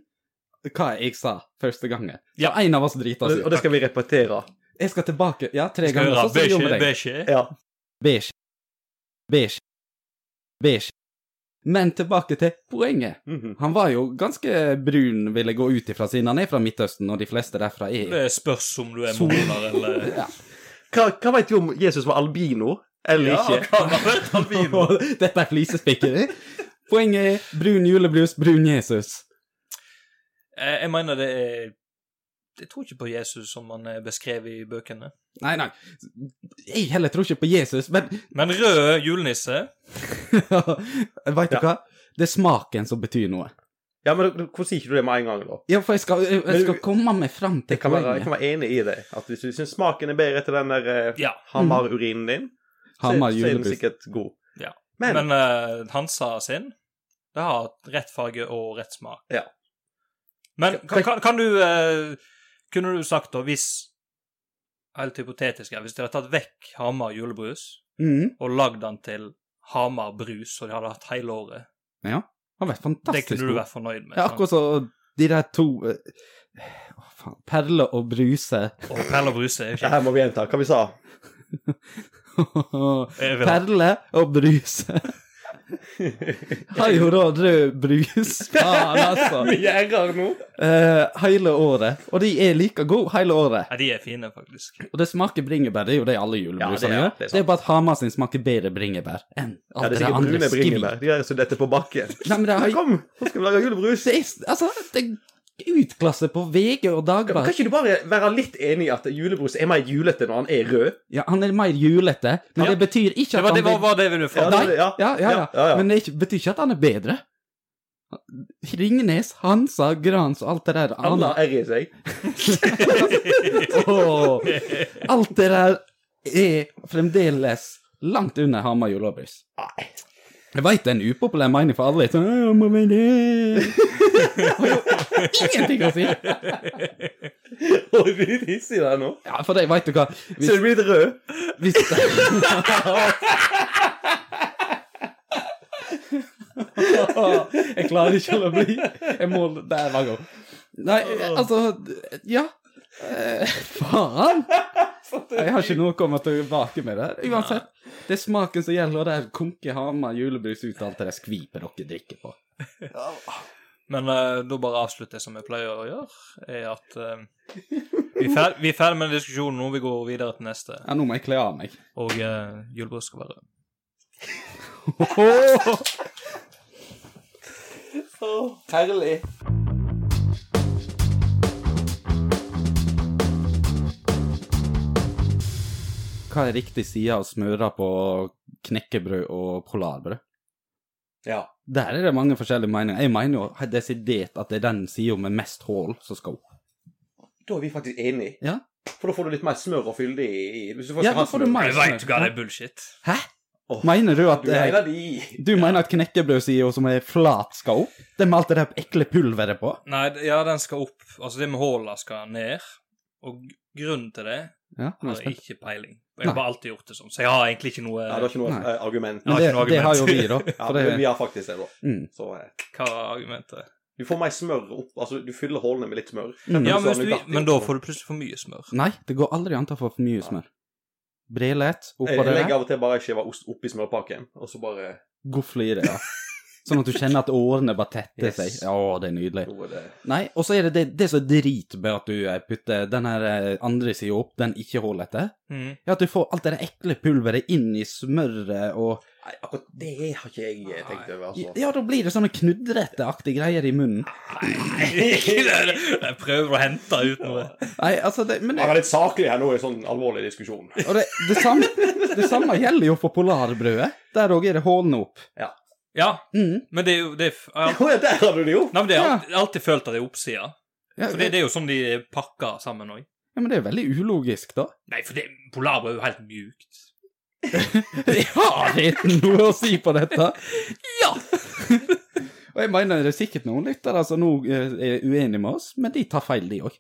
S2: hva jeg sa første gangen. Så
S1: Ja.
S2: en av oss
S3: Og
S2: driter
S3: det,
S2: seg
S3: og
S2: ut.
S3: det skal vi repetere.
S2: Jeg skal tilbake ja, tre
S1: Skal
S2: ganger,
S1: høre
S2: så skal jeg gjøre det.
S1: beige, beige.
S3: Ja.
S2: Beige. Beige. Beige. Men tilbake til poenget.
S3: Mhm.
S2: Han var jo ganske brun, vil jeg gå ut ifra, siden han er fra Midtøsten, og de fleste derfra er
S1: Det spørs om du er
S2: Sol.
S1: morder eller
S2: ja.
S3: Hva, hva veit du om Jesus var albino eller
S1: Ja,
S3: ikke?
S1: kan ha vært albino.
S2: Dette er flisespikkeri. Poenget er brun julebrus, brun Jesus.
S1: Eh, Jeg mener det er Jeg tror ikke på Jesus som han er beskrevet i bøkene.
S2: Nei, nei, jeg heller tror ikke på Jesus, men
S1: Men rød julenisse
S2: Veit du
S3: Ja.
S2: hva? Det er smaken som betyr noe.
S3: Ja, men da- Hvorfor sier ikke du det med en gang, da?
S2: Ja, for jeg skal, jeg,
S3: Men du-
S2: jeg skal komme meg fram til
S3: Jeg kan, være, jeg kan
S2: poenget.
S3: være enig i det. At Hvis du syns smaken er bedre til den der eh,
S1: Ja.
S3: Hamar-urinen din, så,
S2: Hamar
S3: så er den
S2: julebrus.
S3: sikkert god.
S1: Ja.
S3: Men,
S1: Men eh, Hansa sin, det har rett farge og rett smak.
S3: Ja.
S1: Men kan, kan, kan du eh, Kunne du sagt, da, hvis Helt hypotetisk her, hvis de hadde tatt vekk Hamar julebrus
S2: Mm,
S1: og lagd den til Hamar brus, og de hadde hatt hele året,
S2: han har vært
S1: det
S2: fantastisk
S1: kunne du
S2: god.
S1: vært fornøyd med.
S2: Ja,
S1: sant?
S2: akkurat så de der to eh, Å, faen. Perle og bruse.
S1: Og Perle og bruse er jo
S3: det
S1: ikke
S3: her må vi gjenta hva vi sa.
S1: Jeg vil ha-
S2: Perle og bruse. Har jo da rød brus. Faen, altså.
S3: Vi gjerder nå.
S2: Eh, hele året. Og de er like gode hele året.
S1: Nei, de er fine, faktisk.
S2: Og det smaker bringebær. Det er jo det alle
S3: Ja,
S2: julebrusene
S3: det er-
S2: gjør.
S3: det er sant.
S2: det er bare at Hamar sin smaker bedre bringebær enn alt det,
S3: Ja, det er sikkert
S2: andre
S3: brune
S2: skvip.
S3: bringebær. De der som detter på bakken.
S2: Nei, men det
S3: Ja,
S2: er,
S3: Kom, nå skal vi lage julebrus.
S2: det er Altså, det er utklasse på VG og
S3: Kan
S2: Dagbladet.
S3: ikke du bare være litt enig i at julebrus er mer julete når han er rød?
S2: Ja, han er mer julete, men
S1: Ja.
S2: det betyr ikke
S1: Det
S2: at
S1: var det,
S2: han
S1: var, var det vi ville fram
S3: det-
S2: Nei, ja, ja, ja,
S3: ja, ja.
S2: Men det er ikke, betyr ikke at han er bedre. Ringnes, Hansa, Grans og alt det der
S3: Han
S2: andre
S3: har R i seg.
S2: Åh, Alt det der er fremdeles langt under Hamar julebrus.
S3: Nei.
S2: Jeg veit det er en upopulær mening for alle. Sånn, «Å, må vi det?» Har jo ingenting å si!
S3: Oi, blir litt hissig der nå.
S2: Ja, for det veit du hva
S3: Så
S2: Hvis,
S3: du blir litt rød.
S2: hvis Jeg klarer ikke å la bli. Jeg må Der var god. Nei, altså Ja. Eh, faen! Jeg har ikke noe å komme tilbake med der. Uansett, det er smaken som gjelder, og det er konke Hamar julebrus ut av alt det der skvipet dere drikker på.
S1: Men eh, da bare avslutter jeg som jeg pleier å gjøre, er at eh, vi, er fer vi er ferdig med diskusjonen nå, vi går videre til neste.
S2: Ja, nå må jeg kle av meg.
S1: Og uh, julebrus skal være
S3: Herlig.
S2: Hva er riktig side å smøre på knekkebrød og polarbrød?
S3: Ja.
S2: Der er det mange forskjellige meninger. Jeg mener jo desidert at det er den sida med mest hull som skal opp.
S3: Da er vi faktisk enige.
S2: Ja.
S3: For da får du litt mer smør og fylde i, i hvis du
S2: Ja, da får du
S3: smør.
S2: mer.
S1: Jeg veit hva det er bullshit.
S2: Hæ?
S3: Åh,
S2: Mener du at
S3: Du er en av de.
S2: Du mener at knekkebrødsida som er flat, skal opp? Det med alt det der ekle pulveret på?
S1: Nei, d- ja, den skal opp. Altså, det med håla skal ned. Og grunnen til det
S2: Ja, nå er jeg
S1: har jeg
S2: spent.
S1: ikke peiling. Jeg har
S2: Nei.
S1: bare alltid gjort det sånn, så jeg har egentlig ikke noe
S3: Ja, det er ikke noe
S2: Nei.
S3: eh, argument.
S1: Ja.
S2: Men
S1: Jeg
S2: det,
S1: har ikke noe
S2: det har jo vi,
S1: argument.
S2: da.
S3: Ja,
S2: For
S3: men Vi
S2: det,
S3: har faktisk det, da.
S2: mm.
S3: Så eh,
S1: Hva er argumentet?
S3: du får mer smør opp. Altså, du fyller hullene med litt smør.
S2: Mm.
S1: Ja,
S3: så
S1: men,
S3: har
S1: hvis
S3: du
S1: du,
S3: datt i
S1: men da
S3: også.
S1: får du plutselig for mye smør.
S2: Nei, det går aldri an til å få for mye smør. Brelet
S3: Jeg,
S2: oppå
S3: jeg
S2: det
S3: legger
S2: der.
S3: av og til bare en skive ost oppi smørpakken, og så bare
S2: Gofle i det, ja. Sånn at du kjenner at årene bare tetter
S3: Yes.
S2: seg. Ja, det er nydelig.
S3: Nå er det
S2: Nei, og så er det det, det som er drit med at du eh, putter den her eh, andre sida opp, den ikke hullete,
S1: Mhm.
S2: er at du får alt det der ekle pulveret inn i smøret og
S3: Nei, akkurat det har ikke jeg eh, tenkt over, altså.
S2: Ja, da blir det sånne knudreteaktige greier i munnen.
S1: jeg prøver å hente ut noe.
S2: Nei, altså, det, men det,
S3: Jeg er litt saklig her nå i en sånn alvorlig diskusjon.
S2: Og det, det, samme, det samme gjelder jo for polarbrødet. Der òg er det hålene opp.
S1: Ja,
S2: Mm.
S1: men det er jo det er, f- ja.
S3: Å ja, der har du det jo!
S1: Nei, men det har jeg alltid, alltid følt at det er oppsida.
S2: Ja,
S1: For det,
S2: det,
S1: det er jo sånn de pakker sammen òg.
S2: ja, men det er veldig ulogisk, da.
S1: Nei, for det, polarbrød er jo helt mjukt.
S2: Har det noe å si på dette?
S1: Ja!
S2: Og jeg mener det er sikkert noen lyttere som nå eh, er uenige med oss, men de tar feil, de òg.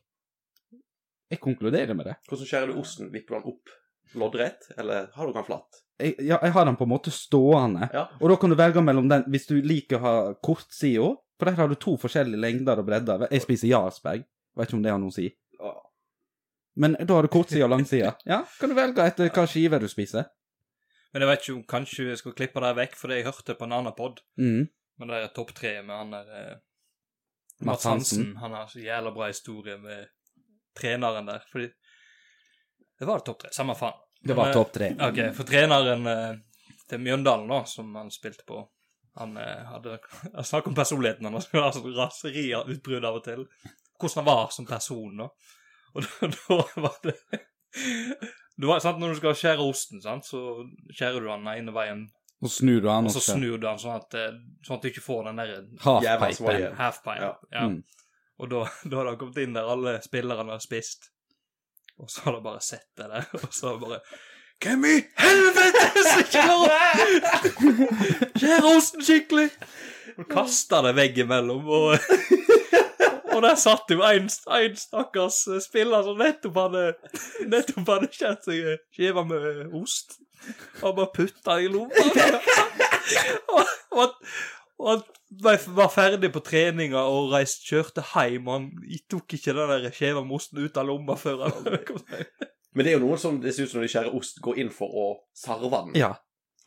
S2: Jeg konkluderer med det.
S3: Hvordan skjærer du osten? Vipper du den opp loddrett, eller har du den flatt?
S2: Jeg, ja, jeg har den på en måte stående.
S3: Ja.
S2: Og da kan du velge mellom den hvis du liker å ha kortsida, for der har du to forskjellige lengder og bredder. Jeg spiser Jarlsberg, vet ikke om det har noe å si.
S3: Ja.
S2: Men da har du kortsida og langsida. Ja, kan du velge etter hva skive du spiser.
S1: Men jeg vet ikke om kanskje jeg skal klippe det vekk, for det jeg hørte på en annen pod.
S2: Mm.
S1: Men det er topp tre med han der eh,
S2: Mads
S1: Mats
S2: Hansen.
S1: Hansen. Han har så jævla bra historie med treneren der. Fordi Det var det topp tre. Samme faen.
S2: Det var
S1: Men,
S2: topp tre.
S1: eh, OK, for treneren eh, til Mjøndalen, da, som han spilte på Han eh, hadde jeg Snakk om personligheten hans. Han har sånn raseriutbrudd av og til. Hvordan han var som person, da. Og da, da var det du var, sant, Når du skal skjære osten, sant, så skjærer du den ene veien
S2: Så snur du han
S1: og så
S2: også.
S1: snur du den sånn at, eh, sånn at du ikke får den der
S3: Jævla
S2: Halfpipe.
S3: svai.
S1: halfpipe. Ja.
S3: Ja.
S2: Mm.
S1: Og da, da har det kommet inn der alle spillerne har spist. Og så har de bare sett det der, og så bare Hvem i helvete som klarer Skjærer osten skikkelig! Og kaster det veggimellom, og Og der satt jo en, en stakkars spiller som nettopp hadde Nettopp hadde skjært seg en skive med eh, ost. Han bare putta i lomma. Og- og han- og han ble- var ferdig på treninga og reist, kjørte hjem. Han tok ikke den der skjeva mosten ut av lomma før han kom seg.
S3: Men det er jo noen som det ser ut som når de skjærer ost, går inn for å sarve den.
S2: Ja.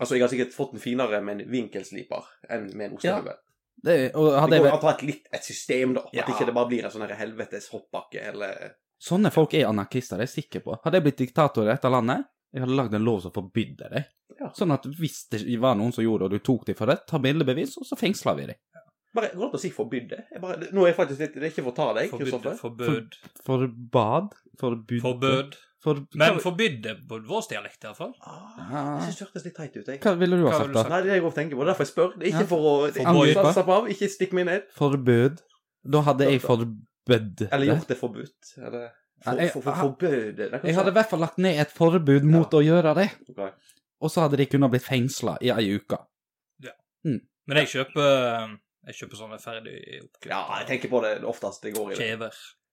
S3: Altså, jeg har sikkert fått den finere med en vinkelsliper enn med en
S2: Ja.
S3: ostehøvel.
S2: Det, og hadde
S3: det
S2: jeg
S3: går
S2: vært,
S3: an å ha et litt et system, da.
S2: Ja.
S3: At ikke det bare blir en sånn her helvetes hoppbakke, eller eh,
S2: sånne folk er anarkister, det er jeg sikker på. Hadde jeg blitt diktator i dette landet, jeg hadde lagd en lov som forbydde det.
S3: Ja.
S2: Sånn at hvis det var noen som gjorde det, og du tok dem for det, ta bildebevis, og så fengsla vi dem.
S3: Bare gå an å si 'forbyd' det. Jeg bare, nå er jeg faktisk litt Det er ikke for å ta deg,
S1: Forbud,
S3: Kristoffer.
S1: forbud,
S2: Forbad? Forbud?
S1: forbud.
S2: For,
S1: Men forbud det på vår dialekt, iallfall.
S3: Ah,
S2: Ja.
S3: jeg syns det hørtes litt teit ut, jeg.
S2: Hva ville du ha
S1: Hva
S2: sagt,
S1: ville du
S2: da?
S1: sagt?
S3: Nei, det er det jeg går og tenker på. Det er derfor jeg spør. Det er ikke
S2: Ja.
S3: for å det er
S1: Forbud.
S3: ikke, for å slappe av, ikke stikk meg ned.
S2: Forbød? Da hadde jeg forbødd det.
S3: Eller gjort det forbudt. Eller for,
S2: Nei, jeg-
S3: for, for, forbød det.
S2: Jeg hadde i hvert fall lagt ned et forbud mot å gjøre det,
S3: Ok.
S2: og så hadde de kunnet blitt fengsla i ei uke.
S1: Men jeg kjøper, eh, jeg kjøper sånne ferdig
S3: Ja, jeg tenker på det oftest det går i det.
S1: kjever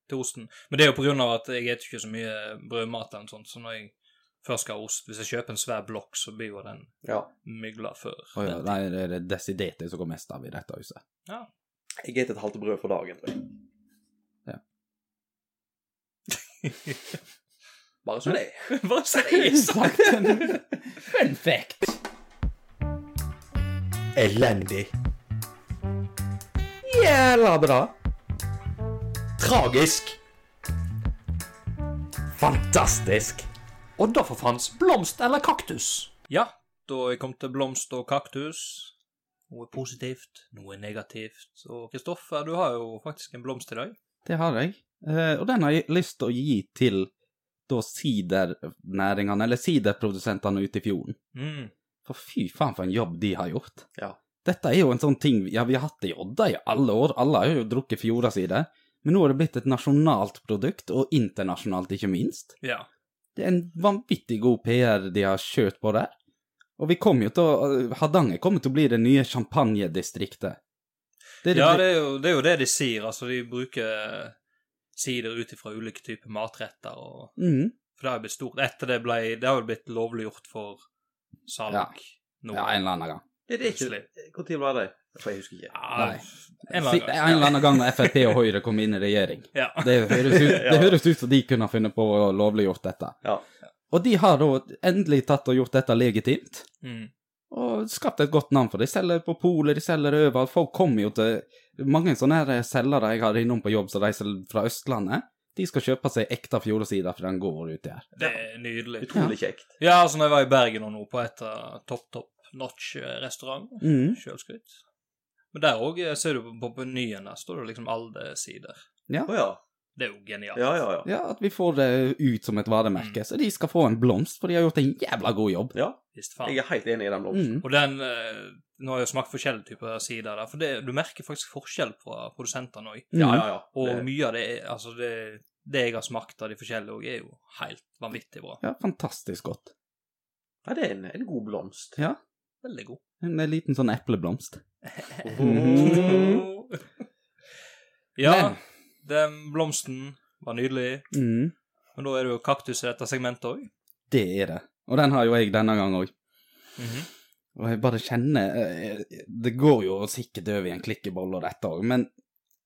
S1: til osten. Men det er jo på grunn av at jeg spiser ikke så mye brødmat eller noe sånt, så når jeg først skal ha ost Hvis jeg kjøper en svær blokk, så blir jo den
S3: Ja.
S1: mygla før.
S2: Oi,
S1: den
S2: nei, det er det desidert det som går mest av i dette huset.
S3: Jeg spiser et halvt brød for dagen, tror jeg.
S2: Ja.
S3: Bare så det.
S1: tid. Bare si sånn!
S2: Fun fact!
S4: Elendig.
S2: Jævla bra!
S4: Tragisk. Fantastisk. Og da for faens blomst eller kaktus?
S1: Ja, da er jeg kommet til blomst og kaktus. Noe positivt, noe negativt. Og Kristoffer, du har jo faktisk en blomst i dag.
S2: Det har jeg. Eh, og den har jeg lyst til å gi til da sidernæringene, eller siderprodusentene ute i fjorden.
S1: Mm.
S2: For fy faen for en jobb de har gjort.
S3: Ja.
S2: Dette er jo en sånn ting Ja, vi har hatt det i Odda i alle år. Alle har jo drukket fjorda side. Men nå er det blitt et nasjonalt produkt, og internasjonalt ikke minst.
S1: Ja.
S2: Det er en vanvittig god PR de har skjøt på der. Og vi kommer jo til å eh, Hardanger kommer til å bli det nye champagnedistriktet. Det er det
S1: ja,
S2: bli-
S1: det er, jo, det er jo det de sier. Altså, de bruker sider ut ifra ulike typer matretter og
S2: Mm.
S1: For det har jo blitt stort. Etter det ble Det har jo blitt lovliggjort for salg
S2: Ja.
S1: nå.
S2: Ja, en eller annen gang.
S3: Det, det er ikke
S1: Plutselig.
S3: Når var det? For jeg husker ikke.
S1: Ja,
S2: Nei.
S1: en
S2: Si-
S1: eller
S2: En eller
S1: annen gang.
S2: annen gang når Frp og Høyre kom inn i regjering.
S1: Ja. ja.
S2: Det høres ut, det
S3: Ja.
S2: høres ut som de kunne ha funnet på å lovliggjort dette.
S3: Ja.
S2: Og de har da endelig tatt og gjort dette legitimt,
S1: Mm.
S2: og skapt et godt navn for det. De selger på polet, de selger overalt. Folk kommer jo til Mange sånne her selgere jeg har innom på jobb som reiser fra Østlandet, de skal kjøpe seg ekte Fjordesider, for den går uti her.
S1: Det er nydelig.
S3: Utrolig kjekt.
S1: Ja, altså, når jeg var i Bergen og nå på et av topp, topp notch-restaurant
S2: Mm.
S1: Sjølskryt. Men der eh, òg ser du på- på menyen, der står det liksom alle sider.
S3: Å ja.
S1: Det er jo genialt.
S3: Ja, ja, ja.
S2: Ja, at vi får det ut som et
S1: Mm.
S2: varemerke. Så de skal få en blomst, for de har gjort en jævla god jobb.
S3: Ja,
S1: Visst faen.
S3: jeg er helt enig i den blomsten.
S2: Mm.
S1: Og den eh, Nå har jeg smakt forskjellige typer sider der, for det, du merker faktisk forskjell fra produsentene òg.
S3: Ja, ja, ja.
S1: Og
S3: Det-
S1: mye av det er Altså, det, det jeg har smakt av de forskjellige òg, er jo helt vanvittig bra.
S2: Ja, fantastisk godt.
S3: Ja, det er en, en god blomst.
S2: Ja.
S1: Veldig god.
S2: En liten sånn epleblomst.
S3: Mm. Mhm.
S1: ja,
S2: Men-
S1: den blomsten var nydelig,
S2: Mm.
S1: men da er det jo kaktus i dette segmentet òg.
S2: Det er det. Og den har jo jeg denne gang òg.
S1: Mhm.
S2: Og jeg bare kjenner eh, Det går jo sikkert over i en klikkebolle og dette òg, men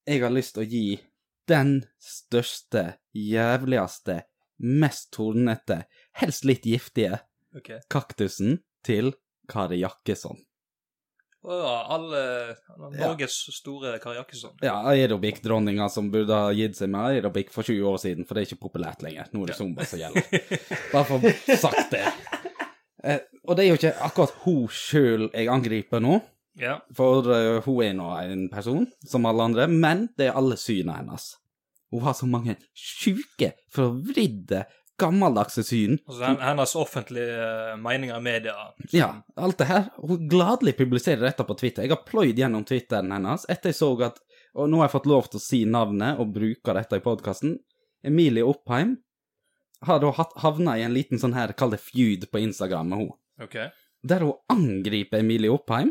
S2: jeg har lyst til å gi den største, jævligste, mest tornete, helst litt giftige
S1: OK.
S2: kaktusen til Kari Jakkesson.
S1: Og ja, alle
S2: Ja.
S1: Norges store Kari Jakkesson.
S2: Ja, aerobic-dronninga som burde ha gitt seg med aerobic for 20 år siden, for det er ikke populært lenger. Nå er det zumba som gjelder. Bare for å få sagt det. Eh, og det er jo ikke akkurat hun sjøl jeg angriper nå,
S1: ja.
S2: for eh, hun er nå en person som alle andre, men det er alle synene hennes. Hun har så mange sjuke, forvridde, gammeldagse syn.
S1: Altså, hen- hennes offentlige eh, meninger i media
S2: Ja, alt det her. Hun gladelig publiserer dette på Twitter. Jeg har pløyd gjennom Twitteren hennes etter jeg så at Og nå har jeg fått lov til å si navnet og bruke dette i podkasten. Emilie Oppheim har da hatt- havna i en liten sånn her, kall det feud på Instagram med henne.
S1: OK.
S2: der hun angriper Emilie Oppheim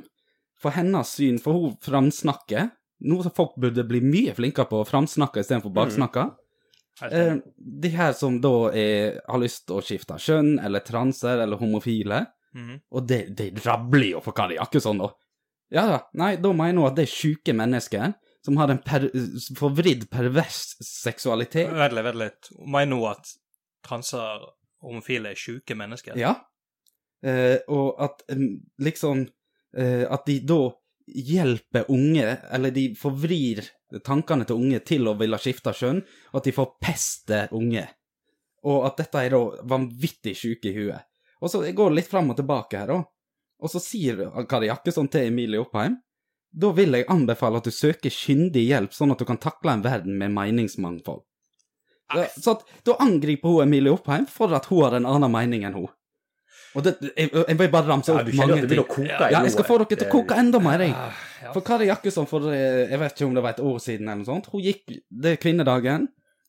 S2: for hennes syn, for hun framsnakker, noe som folk burde bli mye flinkere på å framsnakke istedenfor baksnakke.
S1: Helt
S2: Eh,
S1: enig.
S2: de her som da er, har lyst til å skifte kjønn, eller transer, eller homofile,
S1: Mhm.
S2: og det, det rabler jo for Kari Jakkesson, sånn, da. Ja da, nei, da mener hun at det er sjuke mennesker som har en per, forvridd, pervers seksualitet.
S1: Vent litt, vent litt. Mener hun at transer og homofile er sjuke mennesker?
S2: Ja. Eh, og at mm, liksom eh, At de da hjelper unge, eller de forvrir tankene til unge til å ville skifte kjønn, og at de forpester unge. Og at dette er da vanvittig sjuke i huet. Og så går det litt fram og tilbake her, da. Og så sier Kari Jakkesson til Emilie Oppheim da vil jeg anbefale at du søker kyndig hjelp, sånn at du kan takle en verden med meningsmangfold.
S1: Ah,
S2: Ja, Eh, Så at, da angriper hun Emilie Oppheim for at hun har en annen mening enn hun. Og det, jeg, jeg vil bare ramse
S3: Ja,
S2: opp
S3: du kjenner
S2: mange
S3: at det
S2: ting.
S3: begynner å koke i
S2: Ja, jeg skal
S3: blodet.
S2: få dere til å
S3: Eh,
S2: koke enda mer, jeg.
S1: Ah, ja.
S2: For Kari Jakkesson for eh, jeg vet ikke om det var et år siden eller noe sånt, hun gikk det er kvinnedagen,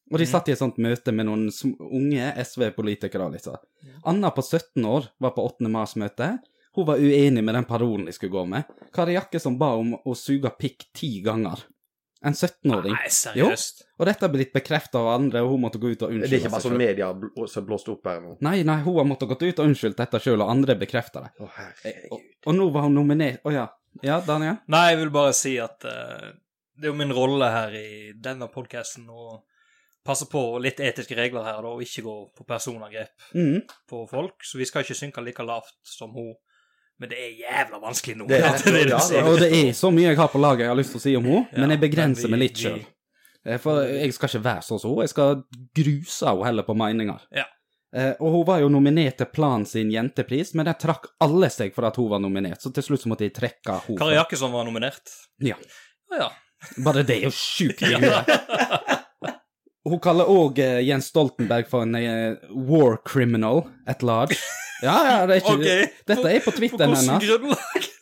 S2: og
S3: Mm.
S2: de
S1: Mhm.
S2: satt i et sånt møte med noen sm- unge SV-politikere, liksom. Anna på 17 år var på 8. mars-møte. Hun var uenig med den parolen de skulle gå med. Kari Jakkesson ba om å suge pikk ti ganger. En 17-åring.
S1: Nei, seriøst?
S2: Og dette er blitt bekrefta av andre, og hun måtte gå ut og
S3: Det
S2: unnskylde
S3: er ikke bare
S2: seg selv.
S3: sånn media bl- som blåste opp her nå.
S2: Nei, nei, hun har måttet gått ut og unnskyldt dette sjøl, og andre bekrefter det.
S3: Å,
S2: Og,
S3: herregud.
S2: og nå var hun nominert Å ja. Ja, Daniel?
S1: Nei, jeg vil bare si at eh, det er jo min rolle her i denne podkasten å passe på litt etiske regler her, da, og ikke gå på personangrep
S2: Mm.
S1: på folk. Så vi skal ikke synke like lavt som hun. Men det er jævla vanskelig nå.
S3: Det er-
S1: at det, er det,
S3: ja,
S1: du sier.
S2: Og det er så mye jeg har på laget jeg har lyst til å si om henne,
S1: Ja,
S2: men jeg
S1: men vi-
S2: begrenser meg litt
S1: vi-
S2: sjøl. For jeg skal ikke være sånn som henne, jeg skal gruse henne heller på meninger.
S1: Ja.
S2: Eh, Og hun var jo nominert til Plan sin jentepris, men der trakk alle seg for at hun var nominert, så til slutt så måtte de trekke
S1: Kari
S2: henne.
S1: Jakkesson var nominert.
S2: Ja.
S1: Å ja.
S2: Bare det er jo sjukt i huet. Hun kaller òg Jens Stoltenberg for en eh, war criminal at large. Ja, ja, det er ikke
S1: OK.
S2: Dette er på
S1: På
S2: Twitteren
S1: hvilket
S2: hennes.
S1: grunnlag?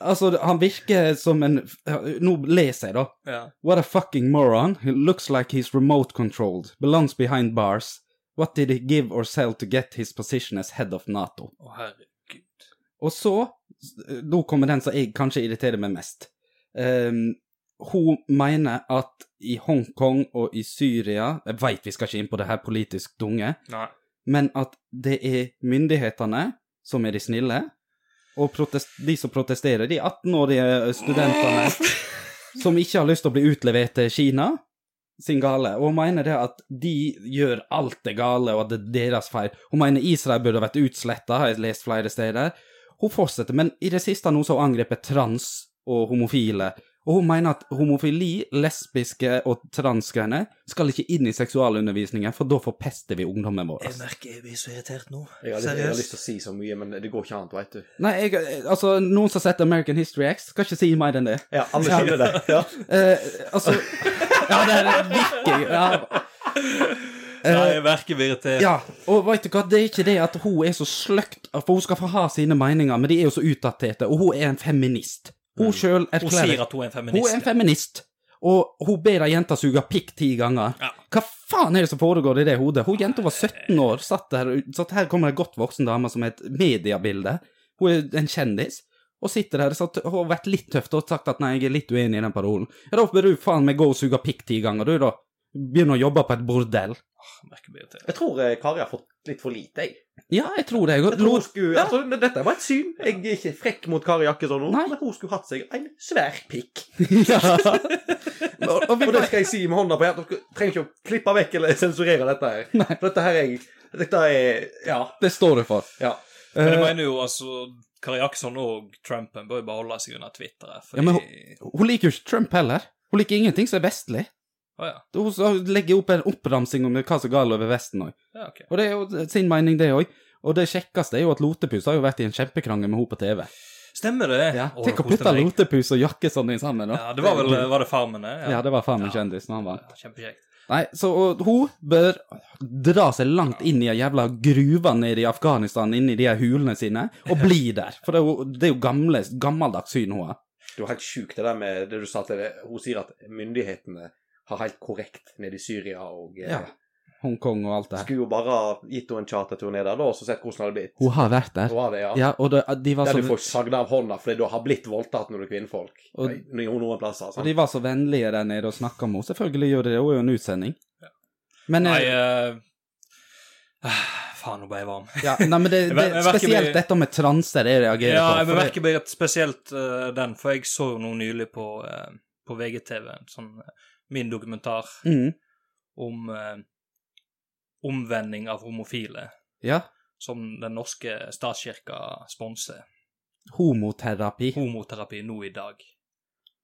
S2: altså, han virker som en Nå leser jeg, da.
S1: Ja.
S2: What a fucking moron. He looks like he's remote controlled. Belongs behind bars. What did he give or sell to get his position as head of NATO?
S1: Å, herregud.
S2: Og så Nå kommer den som jeg kanskje irriterer meg mest. Ehm, hun mener at i Hongkong og i Syria Jeg veit vi skal ikke inn på det her politisk tunge,
S1: Nei.
S2: men at det er myndighetene som er de snille, og protest de som protesterer, de 18-årige studentene som ikke har lyst til å bli utlevert til Kina sin gale, og hun mener det at de gjør alt det gale, og at det er deres feil. Hun mener Israel burde vært utsletta, har jeg lest flere steder. Hun fortsetter, men i det siste nå så har hun angrepet trans og homofile, og hun mener at homofili, lesbiske og transgreiene skal ikke inn i seksualundervisningen, for da forpester vi ungdommen vår. altså.
S1: Jeg merker jeg blir så irritert nå.
S3: Jeg har, lyst, jeg har lyst til å si så mye, men det går ikke an, veit du.
S2: Nei, jeg, altså, noen som har sett American History X, skal ikke si mer enn det.
S3: Ja, alle skjønner det. Ja.
S2: Eh, altså Ja, det er virkelig ja. Eh,
S1: Nei, jeg merker jeg blir irritert.
S2: ja, og veit du hva, det er ikke det at hun er så sløkt, for hun skal få ha sine meninger, men de er jo så utdaterte, og hun er en feminist. Hun sjøl
S1: Mm. Hun sier
S2: erklærer
S1: at hun er en
S2: Hun
S1: feminist.
S2: er en feminist, og hun ber ei jente suge pikk ti ganger.
S1: Ja.
S2: Hva faen er det som foregår i det hodet? Hun jenta var 17 år, satt der, satt her kommer ei godt voksen dame som er et mediebilde. Hun er en kjendis, og sitter der satt, og har vært litt tøff og sagt at nei, jeg er litt uenig i den parolen. Ja, da bør du faen meg gå og suge pikk ti ganger, du, da. Begynne å jobbe på et bordell.
S1: Jeg merker jeg blir irritert.
S3: Jeg tror eh, Kari har fått litt for lite, jeg.
S2: Ja, jeg tror det. Jeg,
S3: jeg tror hun
S2: lot,
S3: skulle,
S2: Ja.
S3: altså, det- dette var et syn. Jeg er ikke frekk mot Kari Jakkesson, nå,
S2: Nei.
S3: men hun skulle hatt seg en svær pikk.
S2: ja. og, og vi
S3: Og det skal jeg si med hånda på hjertet. Dere Trenger ikke å klippe vekk eller sensurere dette her.
S2: Nei.
S3: For Dette her er Dette er Ja.
S2: det står du for.
S3: ja.
S1: Men jeg
S2: Eh,
S1: mener jo altså Kari Jackson og Trumpen bør jo bare holde seg unna Twitter. her, Fordi...
S2: Ja, men hun liker jo ikke Trump heller. Hun liker ingenting som er vestlig.
S1: Å, ja.
S2: Hun hun legger opp en oppramsing om hva som er galt over Vesten òg.
S1: Ja, ok.
S2: Og det er jo sin mening, det òg. Og det kjekkeste er jo at Lotepus har jo vært i en kjempekrangel med henne på TV.
S1: Stemmer det? Å,
S2: Tenk å
S1: koste
S2: putte
S1: meg.
S2: Lotepus og Jakkesson inn sammen, da.
S1: Ja, det var vel Var det Farmen, det?
S2: Ja, det var faen meg
S1: Ja.
S2: kjendisen han vant.
S1: Ja, Kjempekjekt.
S2: Nei, så og, hun bør dra seg langt inn i ei jævla gruve nede i Afghanistan, inn i de her hulene sine, og bli der. For det er jo, det er jo gamle, gammeldags syn hun har.
S3: Det var helt sjukt, det der med det du sa til det. Hun sier at myndighetene har helt korrekt nede i Syria og eh,
S2: Ja. Hongkong og alt det her.
S3: Skulle jo bare gitt henne en charterturné der, da, og så sett hvordan det hadde blitt.
S2: Hun har vært der.
S3: Hun har det, ja.
S2: Ja, og det, de var
S3: Der
S2: så
S3: du får sagd av hånda fordi du har blitt voldtatt når du er kvinnfolk.
S2: Og-
S3: Nei, noen plasser. altså.
S2: Og
S3: Sant?
S2: de var så vennlige der nede og snakka med henne. Selvfølgelig gjør de det, hun er jo en utsending. Men,
S1: Nei,
S2: eh,
S1: eh, ah, Faen, nå ble jeg varm.
S2: ja, nei, men det,
S1: Jeg
S2: det,
S1: ver- jeg verker
S2: spesielt
S1: mye-
S2: dette med transer jeg reagerer
S1: Ja,
S2: på.
S1: jeg
S2: for det-
S1: merker bare at spesielt eh, den, for jeg så jo noe nylig på, eh, på VGTV, en sånn eh, min dokumentar
S2: Mm,
S1: om eh, omvending av homofile,
S2: ja,
S1: som den norske statskirka sponser.
S2: homoterapi.
S1: Homoterapi nå i dag.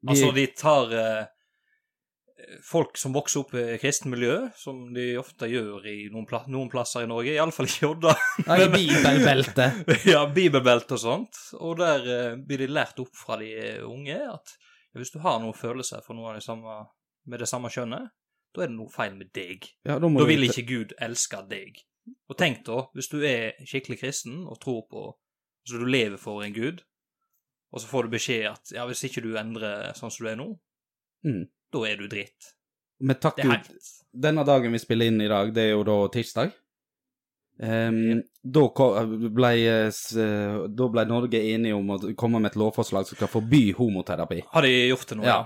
S2: Vi-
S1: Altså, de tar eh, folk som vokser opp i kristent miljø, som de ofte gjør i noen, pla noen plasser i Norge, iallfall i Odda.
S2: Nei, bibelbelte.
S1: ja, bibelbelte og sånt. Og der eh, blir de lært opp fra de er unge at hvis du har noen følelser for noen av de samme, med det samme kjønnet, da er det noe feil med deg.
S2: Ja, da må
S1: Da
S2: du-
S1: vil ikke Gud elske deg. Og tenk da, hvis du er skikkelig kristen og tror på Altså du lever for en gud, og så får du beskjed at ja, hvis ikke du endrer sånn som du er nå,
S2: Mm.
S1: da er du dritt.
S2: Men takk
S1: Det er
S2: Gud,
S1: helt
S2: denne dagen vi spiller inn i dag, det er jo da tirsdag. Ehm, da, ko- ble, eh, s- da ble Norge enige om å komme med et lovforslag som skal forby homoterapi.
S1: Har de gjort det nå?
S2: Ja.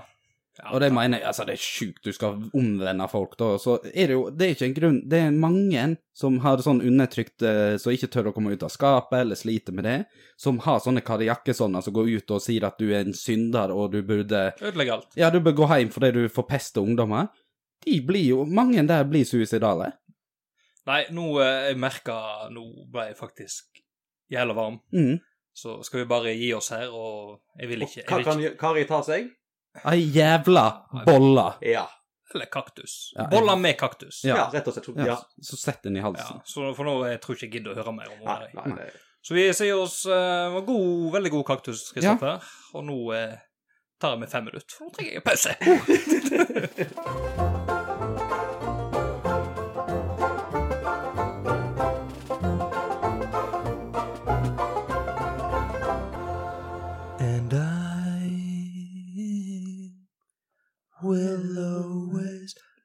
S1: Ja,
S2: Og det mener jeg, altså det er sjukt, du skal omvende folk da, så er det jo, det er ikke en grunn, det er mange som har sånn undertrykt, eh, som ikke tør å komme ut av skapet, eller sliter med det, som har sånne karjakkesånner som går ut og sier at du er en synder, og du burde,
S1: Ødelegg alt.
S2: ja, du bør gå hjem fordi du forpester ungdommer. De blir jo, mange der blir suicidale.
S1: Nei, nå eh, jeg merka Nå ble jeg faktisk jævla varm.
S2: Mm.
S1: Så skal vi bare gi oss her, og jeg vil ikke,
S3: Hva
S1: jeg vil
S3: kan
S1: ikke
S3: Kari ta seg?
S2: Ei jævla bolla.
S3: Ja.
S1: Eller kaktus.
S2: Ja, jeg-
S1: Boller med kaktus.
S2: Ja.
S3: ja. rett og slett. så-
S2: Ja,
S3: Ja.
S2: så sett den i
S1: Ja,
S2: halsen.
S1: så for nå jeg tror ikke jeg gidder å høre mer om
S3: Nei,
S1: det.
S3: nei, det-
S1: Så vi sier oss eh, var god, veldig god kaktus, Kristoffer. Og nå eh, tar jeg meg fem minutter, for nå trenger jeg pause. And I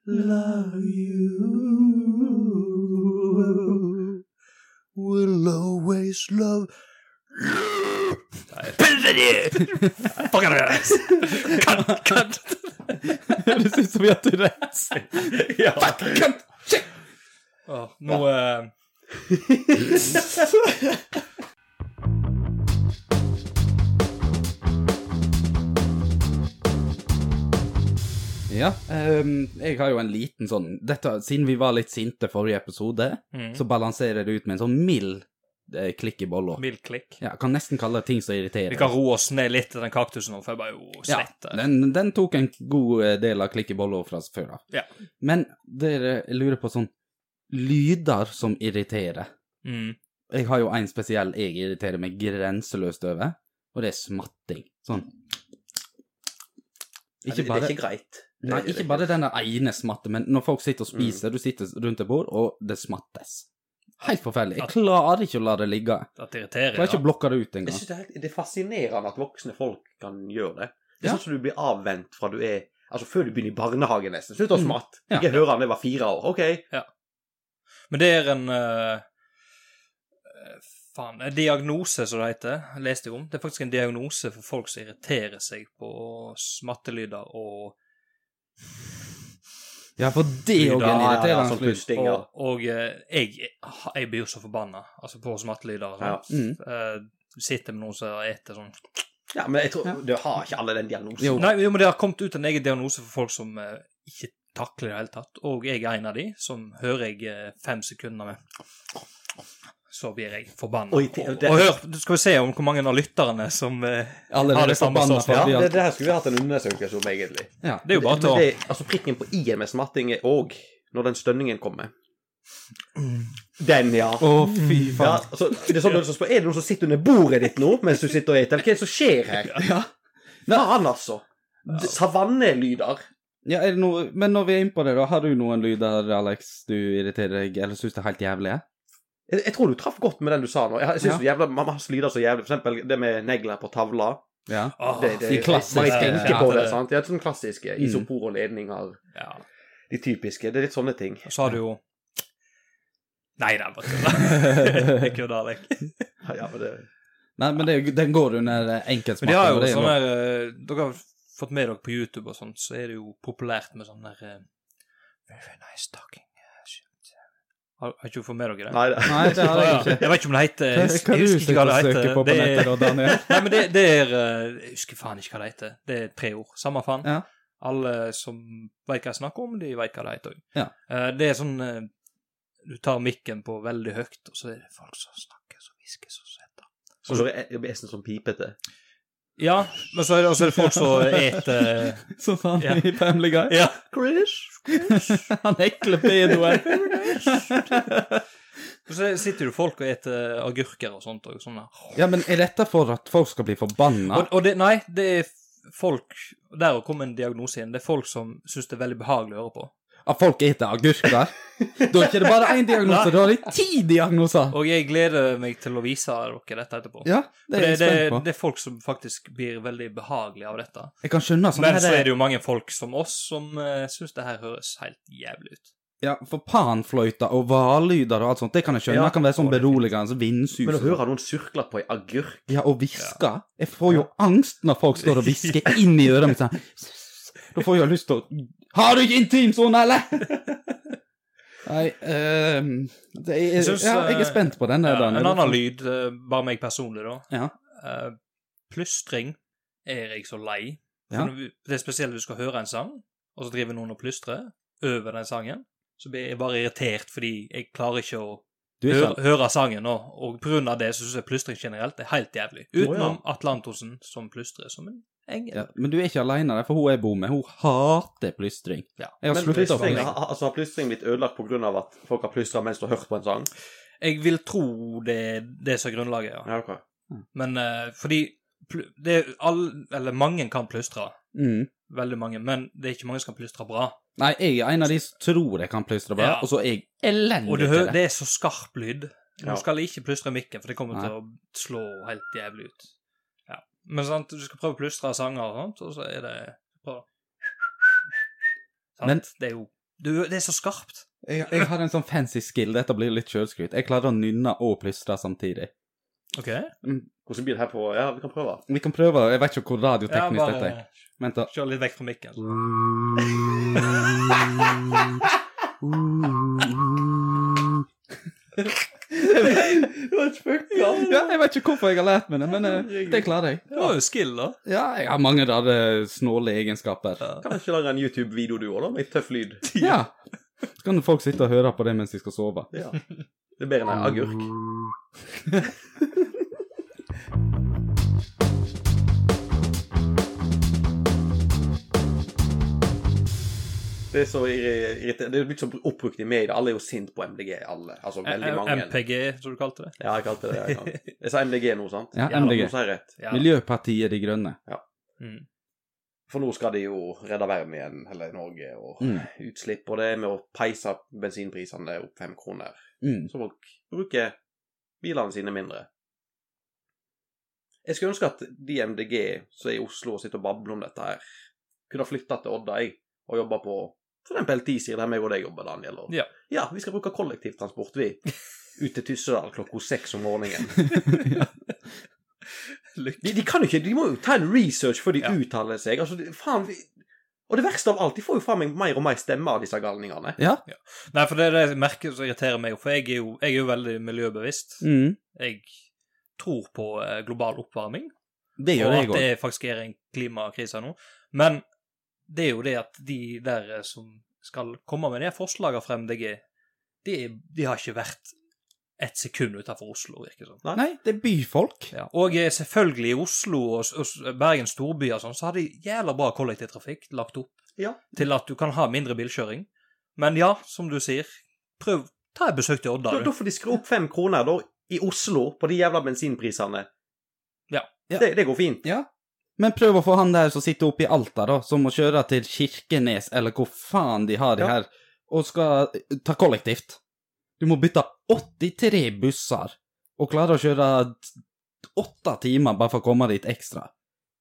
S1: love you. Will always love Fucking ass! Cunt, cunt.
S2: Høres ut som vi har Tourettes.
S3: ja.
S1: Åh, nå eh,
S2: Ja, ehm, jeg har jo en liten sånn dette, Siden vi var litt sinte forrige episode,
S1: mm,
S2: så balanserer det ut med en sånn mild eh, klikk i bolla.
S1: Mild klikk.
S2: Ja, kan nesten kalle det ting som irriterer.
S1: Vi kan roe oss ned litt til den kaktusen, nå, for jeg bare jo
S2: ja,
S1: svette.
S2: den, den tok en god eh, del av klikk i bolla fra før av.
S1: Ja.
S2: Men dere jeg lurer på sånn Lyder som irriterer.
S1: Mm.
S2: Jeg har jo en spesiell jeg irriterer meg grenseløst over, og det er smatting. Sånn.
S3: Nei, det, det er ikke Mm. greit.
S2: Nei, ikke bare den der ene smatter, men når folk sitter og spiser, du sitter rundt et bord, og det smattes. Helt forferdelig. Jeg klarer ikke å la det ligge.
S1: At det
S2: Jeg klarer
S1: irriterer,
S2: ikke å blokke det ut
S3: Jeg
S2: engang.
S3: synes det, er helt, det er fascinerende at voksne folk kan gjøre det. Det er
S2: Ja.
S3: sånn som du blir avvent fra du er Altså før du begynner i barnehagen, nesten. Slutt å
S2: Mm.
S3: smatte.
S2: Ja.
S3: Jeg hører han jeg var fire år. OK.
S1: Men det er en eh, eh, Faen. En diagnose, som det heter. Jeg leste jo om. Det er faktisk en diagnose for folk som irriterer seg på smattelyder og
S2: Ja, for det er jo
S1: Ja, ja,
S2: en
S1: ja,
S2: irriterende
S3: sånn
S2: lyd.
S3: pusting, ja.
S1: Og, og eh, jeg, jeg blir jo så forbanna altså på smattelyder. og sånt.
S2: Mm.
S1: Eh, sitter med noen som eter sånn
S3: Ja, men jeg tror du har ikke alle den diagnosen.
S2: Jo.
S1: Nei, jo, men det har kommet ut en egen diagnose for folk som eh, ikke takler det i det hele tatt. Og jeg er en av de som hører jeg eh, fem sekunder med. Så blir jeg forbanna.
S3: Oi,
S1: Og,
S3: det-
S1: og
S3: det-
S1: hør, du skal vi se om hvor mange av lytterne som eh, Ja, det
S2: Allerede
S1: er samme
S2: forbanna
S1: sånn,
S3: Ja,
S2: fordi
S3: det,
S2: at
S3: det her skulle vi hatt en undersøkelse om, egentlig.
S2: Ja.
S1: Det er jo bare til
S3: Men
S1: å
S3: det, altså, prikken på i-en med smatting er òg når den stønningen kommer. Den, ja.
S2: Å, fy
S3: ja
S2: faen.
S3: altså, det er, sånn, du spør, er det noen som sitter under bordet ditt nå mens du sitter og eter? Eller hva er det som skjer her? Ja. Faen, altså. D- Savannelyder.
S2: Ja, er det noe Men når vi er inne på det, da, har du noen lyder, Alex, du irriterer deg, eller syns det er helt jævlig?
S3: Jeg, jeg tror du traff godt med den du sa nå. Jeg, jeg synes ja. jævla, man har lyder så jævlig. For eksempel det med negler på tavla.
S2: Ja.
S1: Åh,
S3: Det, det,
S2: de klassiske.
S3: Man tenker på
S1: Ja,
S3: det,
S1: det-
S3: sant? Ja, sånn klassiske.
S2: Mm.
S3: Isopor og ledninger.
S1: ja.
S3: De typiske. Det er litt sånne ting.
S1: Og så har du jo Nei, det er bare kødda. Jeg kødder, Alek.
S3: Ja, men det...
S2: Nei, men det, er jo- den går under
S1: Men
S2: eh,
S1: de har
S2: enkeltsmatter.
S1: jo
S2: og det er
S1: sånn
S2: lov.
S1: der eh, Dere har fått med dere på YouTube og sånt, så er det jo populært med sånn der eh, Very nice talking eh, shit. Har, har ikke du fått med dere det?
S3: Nei, det...
S2: Nei, det har
S1: Ah,
S2: jeg
S1: ja.
S2: ikke.
S1: Jeg vet ikke om det heter
S2: Hva
S1: Jeg
S2: hva
S1: husker jeg husker
S2: er det du
S1: ikke
S2: sitter
S1: hva
S2: og
S1: det
S2: søker
S1: heter.
S2: på på
S1: Det
S2: nettet,
S1: er,
S2: da, Daniel?
S1: nei, men det, det er eh, Jeg husker faen ikke hva det heter. Det er tre ord. Samme faen.
S2: Ja.
S1: Alle som veit hva jeg snakker om, de veit hva det heter òg.
S2: Ja.
S1: Det er sånn eh, Du tar mikken på veldig høyt, og så er det folk som snakker, som hvisker, som heter
S3: Så så er er sånn pipete.
S1: Ja, men så er det, og så er det folk som eter
S2: Sånn som
S1: Ja.
S2: han i Family Guy.
S1: Ja.
S2: Han ekle pedoen.
S1: Og så sitter jo folk og eter agurker og sånt òg. Sånn der.
S2: Ja, men er dette for at folk skal bli forbanna?
S1: Og, og det, nei, det er f- folk Der kom en diagnose inn. Det er folk som syns det er veldig behagelig å høre på.
S2: At folk eter agurker? Da er ikke det bare én diagnose, da er det ti diagnoser!
S1: Og jeg gleder meg til å vise dere dette etterpå.
S2: Ja, det
S1: For
S2: er jeg
S1: det,
S2: spent
S1: det,
S2: på.
S1: er folk som faktisk blir veldig behagelige av dette.
S2: Jeg kan skjønne sånn
S1: Men så
S2: her
S1: er det jo mange folk som oss som uh, syns det her høres helt jævlig ut.
S2: Ja, for panfløyter og hvallyder og alt sånt, det kan jeg skjønne.
S3: Ja.
S2: Det kan være sånn beroligende, så vindsus
S3: Men å
S2: og sånn.
S3: høre noen surkle på ei agurk
S2: Ja, og hviske. Jeg får jo angst når folk står og hvisker inn i øret mitt sånn. Da får jeg jo lyst til å Har du ikke intimsone, eller?! Nei ehm, det er,
S1: Jeg synes,
S2: Ja, jeg
S1: eh,
S2: er spent på den
S1: Ja,
S2: der. Daniel.
S1: en annen lyd, eh, bare meg personlig, da.
S2: Ja.
S1: Eh, plystring er jeg så lei.
S2: Ja.
S1: For når vi- Det er spesielt hvis du skal høre en sang, og så driver noen og plystrer over den sangen. Så blir jeg bare irritert fordi jeg klarer ikke å
S2: Du er
S1: høre,
S2: ikke
S1: høre sangen nå, og på grunn av det så syns jeg plystring generelt er helt jævlig. Utenom Atle Antonsen, som plystrer som en engel.
S2: Ja, men du er ikke alene der, for hun jeg bor med, hun hater plystring.
S1: Ja.
S2: Jeg har
S3: Men
S2: sluttet å få
S3: plystring,
S2: meg.
S3: ha- altså, har plystring blitt ødelagt pga. at folk har plystra mens du har hørt på en sang?
S1: Jeg vil tro det er det som er grunnlaget, ja.
S3: Ja, ok.
S1: Men eh, fordi pl- det er all, Eller mange kan plystre.
S2: Mm.
S1: Veldig mange. Men det er ikke mange som kan plystre bra.
S2: Nei, jeg er en av de som tror jeg kan plystre bra,
S1: Ja.
S2: og så Mm. er jeg elendig
S1: Og du
S2: til
S1: hører, det er så skarp lyd. Du
S3: Ja.
S1: skal ikke plystre mikken, for det kommer
S2: Nei.
S1: til å slå helt jævlig ut. Ja. Men sant, du skal prøve å plystre sanger og sånt, og så er det bare sant?
S2: Men-
S1: Det er jo Du, det er så skarpt.
S2: Jeg, jeg har en sånn fancy skill. Dette blir litt sjølskryt. Jeg klarer å nynne og plystre samtidig.
S1: OK.
S3: Hvordan blir det her på Ja, vi kan prøve.
S2: Vi kan prøve det. Jeg vet ikke hvor radioteknisk
S1: Ja, bare-
S2: dette er. Vent, da.
S1: Kjør litt vekk fra mikken.
S3: det var et spøkelse.
S2: Ja, jeg vet ikke hvorfor jeg har lært meg det, men eh, det klarer jeg.
S1: Det var jo skill, da.
S2: Ja, jeg har mange rare snåle egenskaper.
S3: Kan vi ikke lage en YouTube-video du òg, da? Med tøff lyd.
S2: Ja. Så kan folk sitte og høre på det mens de skal sove.
S3: Ja. Det er bedre enn ei agurk. Det er så irri- irriterende. Det er blitt så oppbrukt i media. Alle er jo sint på MDG, alle. Altså
S1: Eh,
S3: veldig mange.
S1: MPG, som du kalte det.
S3: Ja, jeg kalte det det. jeg kalte det. Jeg sa MDG nå, sant?
S2: Ja,
S3: Ja,
S2: MDG.
S3: nå sa jeg rett.
S1: Ja.
S2: Miljøpartiet De Grønne.
S1: Mm.
S3: For nå skal de jo redde verden igjen, eller Norge, og
S2: Mm.
S3: utslipp og det med å peise bensinprisene opp fem kroner.
S2: Mm.
S3: så folk bruker bilene sine mindre. Jeg skulle ønske at de MDG som er i Oslo og sitter og babler om dette her, kunne ha flytta til Odda jeg, og jobba på for eksempel T-siden der meg og deg jobber, Daniel. Og,
S1: Ja.
S3: vi skal bruke kollektivtransport, vi. Ut til Tyssedal klokka seks om morgenen. De, de kan jo ikke, de må jo ta en research før de
S1: Ja.
S3: uttaler seg. Altså, de- faen, vi... Og det verste av alt, de får jo faen meg mer og mer stemme av disse galningene.
S2: Ja.
S1: Nei, for det er det jeg merker som irriterer meg, for jeg er jo, jeg er jo veldig miljøbevisst.
S2: Mm.
S1: Jeg tror på eh, global oppvarming,
S2: Det gjør
S1: og
S2: jeg
S1: at det
S2: òg.
S1: faktisk er en klimakrise nå. Men det er jo det at de der eh, som skal komme med de her forslagene fra MDG, de, er- de har ikke vært ett sekund utenfor Oslo, virker det som.
S2: Nei, det er byfolk.
S1: Ja. Og eh, selvfølgelig i Oslo og, s- og s- Bergen storby og sånn, så har de jævla bra kollektivtrafikk lagt opp
S3: Ja.
S1: til at du kan ha mindre bilkjøring. Men ja, som du sier, prøv ta et besøk til Odda,
S3: Da, da
S1: du.
S3: får de skru opp fem kroner da, i Oslo på de jævla bensinprisene.
S1: Ja.
S2: Ja.
S3: Det, det går fint.
S2: Ja. Men prøv å få han der som sitter oppe i Alta, da, som må kjøre til Kirkenes, eller hvor faen de har det
S3: Ja.
S2: her, og skal eh, ta kollektivt. Du må bytte 83 busser, og klare å kjøre åtte timer bare for å komme dit ekstra.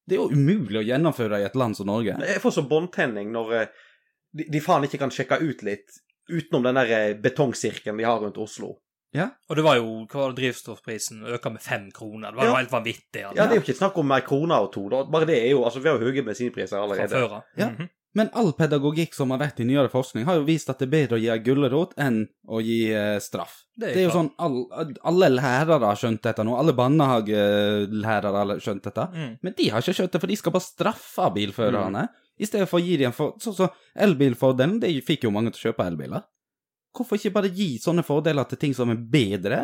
S2: Det er jo umulig å gjennomføre i et land som Norge.
S3: Jeg får så båndtenning når eh, de, de faen ikke kan sjekke ut litt utenom den der eh, betongsirkelen de har rundt Oslo.
S1: Og det var jo hva var det, drivstoffprisen øker med fem kroner. Det var jo
S3: Ja.
S1: helt vanvittig. altså.
S3: Ja, Det er jo ikke snakk om ei krone og to, da. Bare det er jo Altså, vi har jo høye bensinpriser
S1: Fra
S3: allerede.
S1: før av.
S2: Ja.
S1: Mhm.
S2: Men all pedagogikk som har vært i nyere forskning, har jo vist at det er bedre å gi ei gulrot enn å gi eh, straff.
S1: Det er,
S2: Det er jo
S1: klart.
S2: sånn, all, Alle lærere har skjønt dette nå. Alle barnehagelærere har skjønt dette.
S1: Mm.
S2: Men de har ikke skjønt det, for de skal bare straffe bilførerne. I stedet for å gi dem for, Sånn som elbilfordelen, det fikk jo mange til å kjøpe elbiler. Hvorfor ikke bare gi sånne fordeler til ting som er bedre,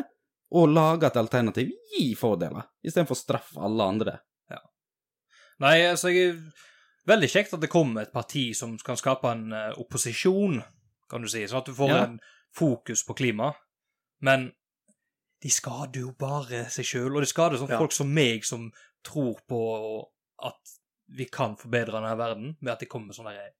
S2: og lage et alternativ? Gi fordeler, istedenfor å straffe alle andre.
S1: Nei, altså, jeg Veldig kjekt at det kommer et parti som kan skape en eh, opposisjon, kan du si. Sånn at du får
S2: Ja.
S1: en fokus på klima. Men de skader jo bare seg sjøl, og de skader sånn
S3: Ja.
S1: folk som meg, som tror på at vi kan forbedre denne verden med at de kommer med sånne her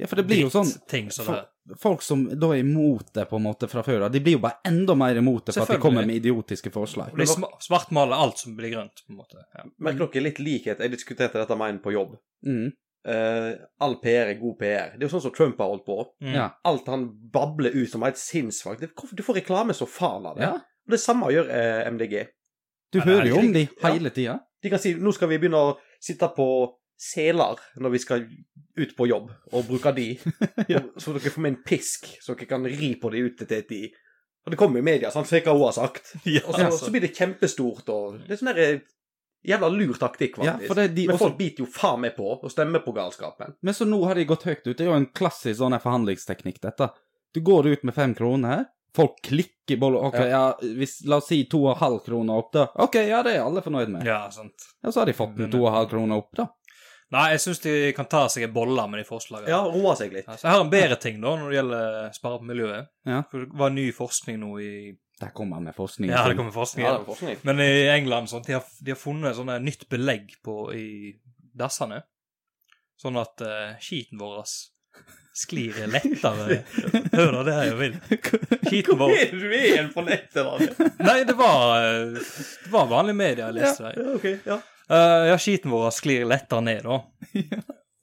S2: Ja, for det blir jo sånn
S1: drittting som det
S2: for, Folk som da er imot det, på en måte, fra før av, de blir jo bare enda mer imot det for at de
S1: Selvfølgelig.
S2: kommer med idiotiske forslag.
S1: Og de sma svartmaler alt som blir grønt, på en måte. Ja.
S3: Merker dere litt likhet? Jeg diskuterte dette med en på jobb.
S2: Mm.
S3: Eh, all PR er god PR. Det er jo sånn som Trump har holdt på.
S1: Mm.
S2: Ja.
S3: Alt han babler ut som er helt sinnssvakt. Det- hvorfor- Du får reklame så faen av det.
S2: Ja.
S3: Og det samme gjør eh, MDG.
S2: Du
S1: Ja, det er
S2: hører jo om de
S3: Ja.
S2: hele tida.
S3: De kan si nå skal vi begynne å sitte på seler når vi skal ut på jobb, og bruke de. Og- Så dere får med en pisk, så dere kan ri på de ute til de. Og det kommer i media, sant, så hva hun har sagt. Og så,
S1: Ja, altså.
S3: så blir det kjempestort, og det er sånn der jævla lur taktikk,
S2: Ja,
S3: faktisk.
S2: for det, de
S3: Men
S2: også,
S3: folk biter jo faen meg på, og stemmer på galskapen.
S2: men så nå har de gått høyt ut. Det er jo en klassisk sånn her forhandlingsteknikk, dette. Du går ut med fem kroner, folk klikker i bollen. Ok, ja, hvis, la oss si to og en halv kroner opp, da. Ok, ja, det er alle fornøyd med.
S1: ja, sant.
S2: Ja, så har de fått den to og en halv kroner opp, da.
S1: Nei, jeg syns de kan ta seg en bolle med de forslagene.
S3: Ja, roe seg litt.
S1: Altså, jeg har en bedre ting da, når det gjelder eh, spare på miljøet.
S2: Ja.
S1: For det var ny forskning nå i
S2: Der kommer han med forskning.
S1: Ja, det kommer forskning.
S3: Ja, det er forskning.
S1: Men i England sånn, de har, de har funnet sånne nytt belegg på, i dassene, sånn at eh, skiten vår sklir lettere. Hør da, det her jeg vil. Skiten
S3: Hvor
S1: vår
S3: er du igjen på nettet, da?
S1: Nei, det var, eh, det var vanlig media jeg leste. der.
S3: Ja, ok, ja.
S1: Eh, ja, skiten vår sklir lettere ned, da.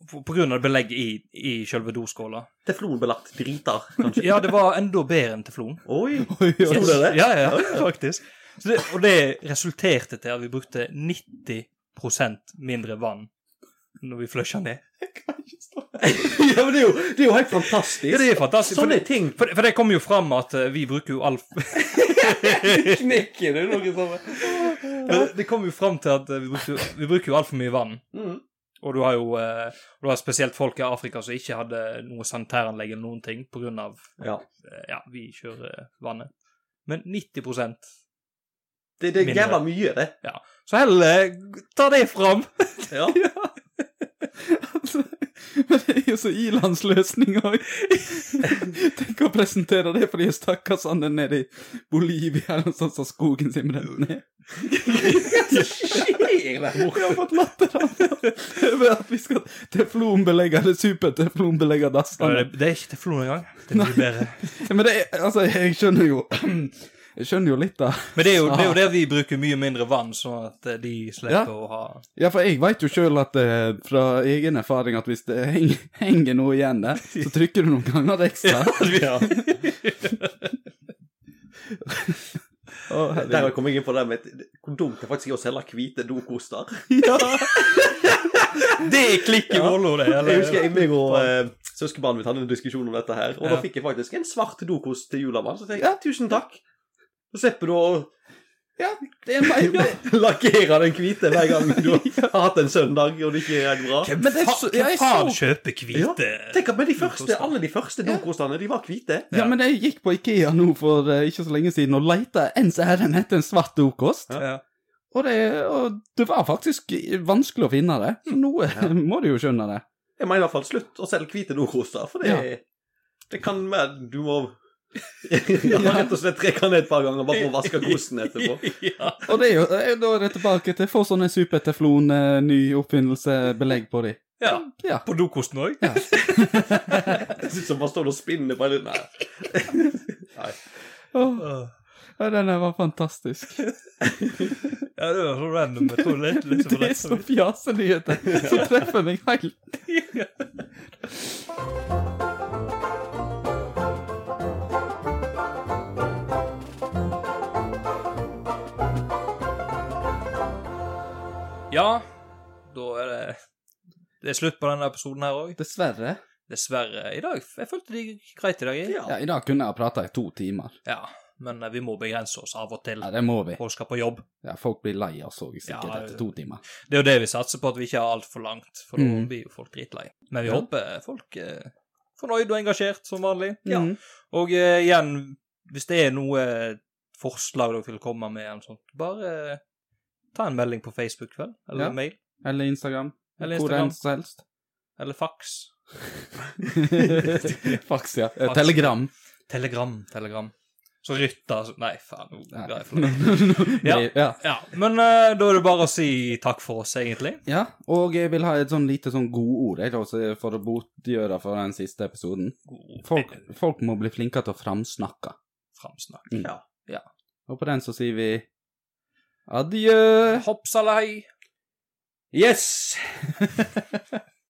S1: på på grunn av belegget i, i selve doskåla.
S3: Teflonbelagt driter, kanskje.
S1: Ja, det var enda bedre enn teflon.
S3: Oi!
S2: Oi,
S3: Tror du det?
S1: Ja, ja, ja, faktisk. Så det, og det resulterte til at vi brukte 90 mindre vann når vi flusha ned.
S3: ja, men det er jo, det er jo helt fantastisk.
S1: Ja, det er fantastisk. For
S3: Sånne
S1: det,
S3: ting
S1: for, det- for det kom jo fram at eh, vi bruker jo all
S3: knekker du noe sånt.
S1: Men Det kom jo fram til at eh, vi bruker, jo- vi bruker jo altfor mye vann.
S3: Mm.
S1: Og du har jo eh, du har spesielt folk i Afrika som ikke hadde noe sanitæranlegg eller noen ting på grunn av
S3: Ja.
S1: eh, Ja, vi kjører eh, vannet. Men 90
S3: Det, det er
S1: Mindre.
S3: jævla mye, det.
S1: Så heller eh, ta det fram!
S3: Ja.
S2: Altså, Men det er jo så ilandsløsning òg. Tenk å presentere det for de stakkarsene nede i Bolivia eller noe sånt som skogen sin brant ned.
S3: Hva skjer der
S2: Vi
S3: borte?
S2: har fått latter av det. over at vi skal teflonbelegge eller superteflonbelegge
S1: Ja,
S2: dassene.
S1: Det, det er ikke til Flon engang. Det blir bedre.
S2: Men det er, altså, jeg skjønner jo Jeg skjønner jo litt, da.
S1: Men det er jo, det er jo der vi bruker mye mindre vann, sånn at eh, de slipper
S2: Ja.
S1: å ha
S2: Ja, for jeg veit jo sjøl at eh, fra egen erfaring at hvis det henger, henger noe igjen der, så trykker du noen ganger ekstra.
S3: Ja.
S2: Å, herregud.
S3: Der kom jeg inn på det med at kondom kan faktisk ikke selge hvite dokoster.
S1: Det er klikk i Vollo, det.
S3: Jeg husker jeg meg og eh, søskenbarnet mitt hadde en diskusjon om dette her, og da
S1: Ja.
S3: fikk jeg faktisk en svart dokost til julemann. Så tenkte jeg tusen takk. Så slipper du å
S2: Det er meg, det.
S3: lakkere den hvite hver gang du har hatt en søndag og det ikke er helt bra.
S2: Men det er
S1: Fa-
S2: så- ja,
S1: Hvem
S2: jeg
S1: faen
S2: så-
S1: kjøper hvite
S3: Tenk at med de første,
S1: Dokoster.
S3: alle de første dokostene, de var hvite.
S2: Ja,
S1: Ja.
S2: men jeg gikk på Ikea nå for eh, ikke så lenge siden og leita ens ærend etter en svart dokost.
S3: Ja.
S1: Ja.
S2: Og, det, og det var faktisk vanskelig å finne det. Så nå eh, må du jo skjønne det.
S3: Jeg mener i hvert fall slutt å selge hvite dokoster, for det, det kan være du må ja, rett og slett trekke den ned et par ganger bare for å vaske kosten etterpå.
S1: Ja.
S2: Og det er jo, eh, da er det tilbake til få sånne eh, superteflon-ny oppfinnelse-belegg på de.
S1: ja.
S2: Ja.
S1: På dokosten òg?
S3: Jeg synes han bare står og spinner på en liten Nei. Nei.
S2: Åh, ja, den der var fantastisk.
S1: Ja, det var så random. Jeg tror det er litt
S2: Det
S1: for
S2: er
S1: rett
S2: så fjasenyheter som treffer meg helt.
S1: Ja, da er det Det er slutt på denne episoden her òg.
S2: Dessverre.
S1: Dessverre. I dag Jeg følte det gikk greit i dag, jeg.
S3: Ja.
S2: Ja, I dag kunne jeg prata i to timer.
S1: Ja. Men eh, vi må begrense oss av og til.
S2: Ja, det må vi.
S1: Folk skal på jobb.
S2: Ja, folk blir lei oss òg, sikkert,
S1: Ja,
S2: etter to timer.
S1: Det er jo det vi satser på, at vi ikke har altfor langt, for da
S2: Mm.
S1: blir jo folk dritlei. Men vi
S2: Ja.
S1: håper folk er fornøyd og engasjert, som vanlig.
S2: Mm.
S1: Og eh, igjen, hvis det er noe eh, forslag dere vil komme med, eller sånt, bare eh, ta en melding på Facebook, vel? Eller
S2: Ja.
S1: mail?
S2: Eller Instagram.
S1: Eller
S2: Hvor
S1: Instagram.
S2: enn som helst.
S1: Eller fax?
S2: Fax, ja. Eh,
S1: Fax.
S2: Telegram.
S1: Telegram? Telegram. Så rytter Nei, faen. nå
S2: Nei.
S1: ga jeg for langt. Ja.
S2: Nei, ja.
S1: Ja, men eh, da er det bare å si takk for oss, egentlig.
S2: ja. Og jeg vil ha et sånn lite sånn godord jeg, da, så for å botgjøre for den siste episoden. Folk, folk må bli flinkere til å framsnakke.
S1: Framsnakk.
S2: Og på den så sier vi adjø.
S1: Hoppsalei!
S3: Yes!